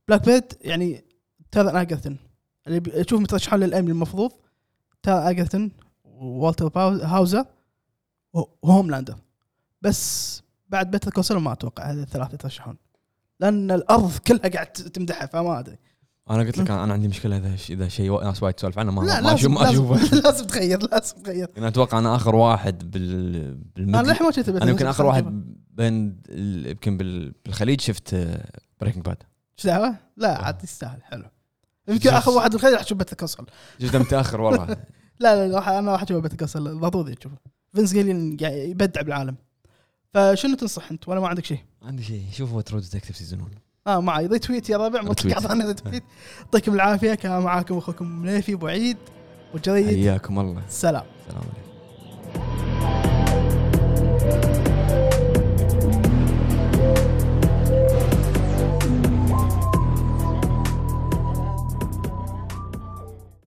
[SPEAKER 1] بلاك بيت يعني تاذا اجرتن اللي بي- تشوف مترشحون للامي المفروض تاذا اجرتن وولتر باو- هاوزر و- وهوملاندر بس بعد بيتر كوسل ما اتوقع هذه الثلاثه يترشحون لان الارض كلها قاعد تمدحها فما ادري
[SPEAKER 2] انا قلت لك انا عندي مشكله اذا ش- اذا شيء وا- ناس وايد تسولف عنه ما
[SPEAKER 1] لا
[SPEAKER 2] ما اشوف
[SPEAKER 1] لازم
[SPEAKER 2] ما اشوفه
[SPEAKER 1] لازم, لازم تغير لازم تغير
[SPEAKER 2] انا اتوقع انا اخر واحد بال
[SPEAKER 1] انا
[SPEAKER 2] بالميدل
[SPEAKER 1] للحين ما شفت
[SPEAKER 2] انا يمكن اخر واحد بين ال- يمكن بال- بالخليج شفت آه، بريكنج باد
[SPEAKER 1] ايش دعوه؟ لا عاد يستاهل حلو يمكن اخر واحد بالخير راح اشوف بيتر كوسل
[SPEAKER 2] شفته متاخر والله
[SPEAKER 1] لا لا راح انا راح اشوفه بتكسل ضروري تشوفه فينس جيلين قاعد يبدع بالعالم فشنو تنصح انت ولا ما عندك شيء؟
[SPEAKER 2] عندي شيء شوفوا ترو ديتكتيف سيزون 1
[SPEAKER 1] اه معي ريتويت يا ربع ما
[SPEAKER 2] ريتويت.
[SPEAKER 1] تقاطعني ريتويت يعطيكم العافيه كان معاكم اخوكم نيفي ابو عيد والجريد
[SPEAKER 2] حياكم الله
[SPEAKER 1] سلام
[SPEAKER 2] السلام عليكم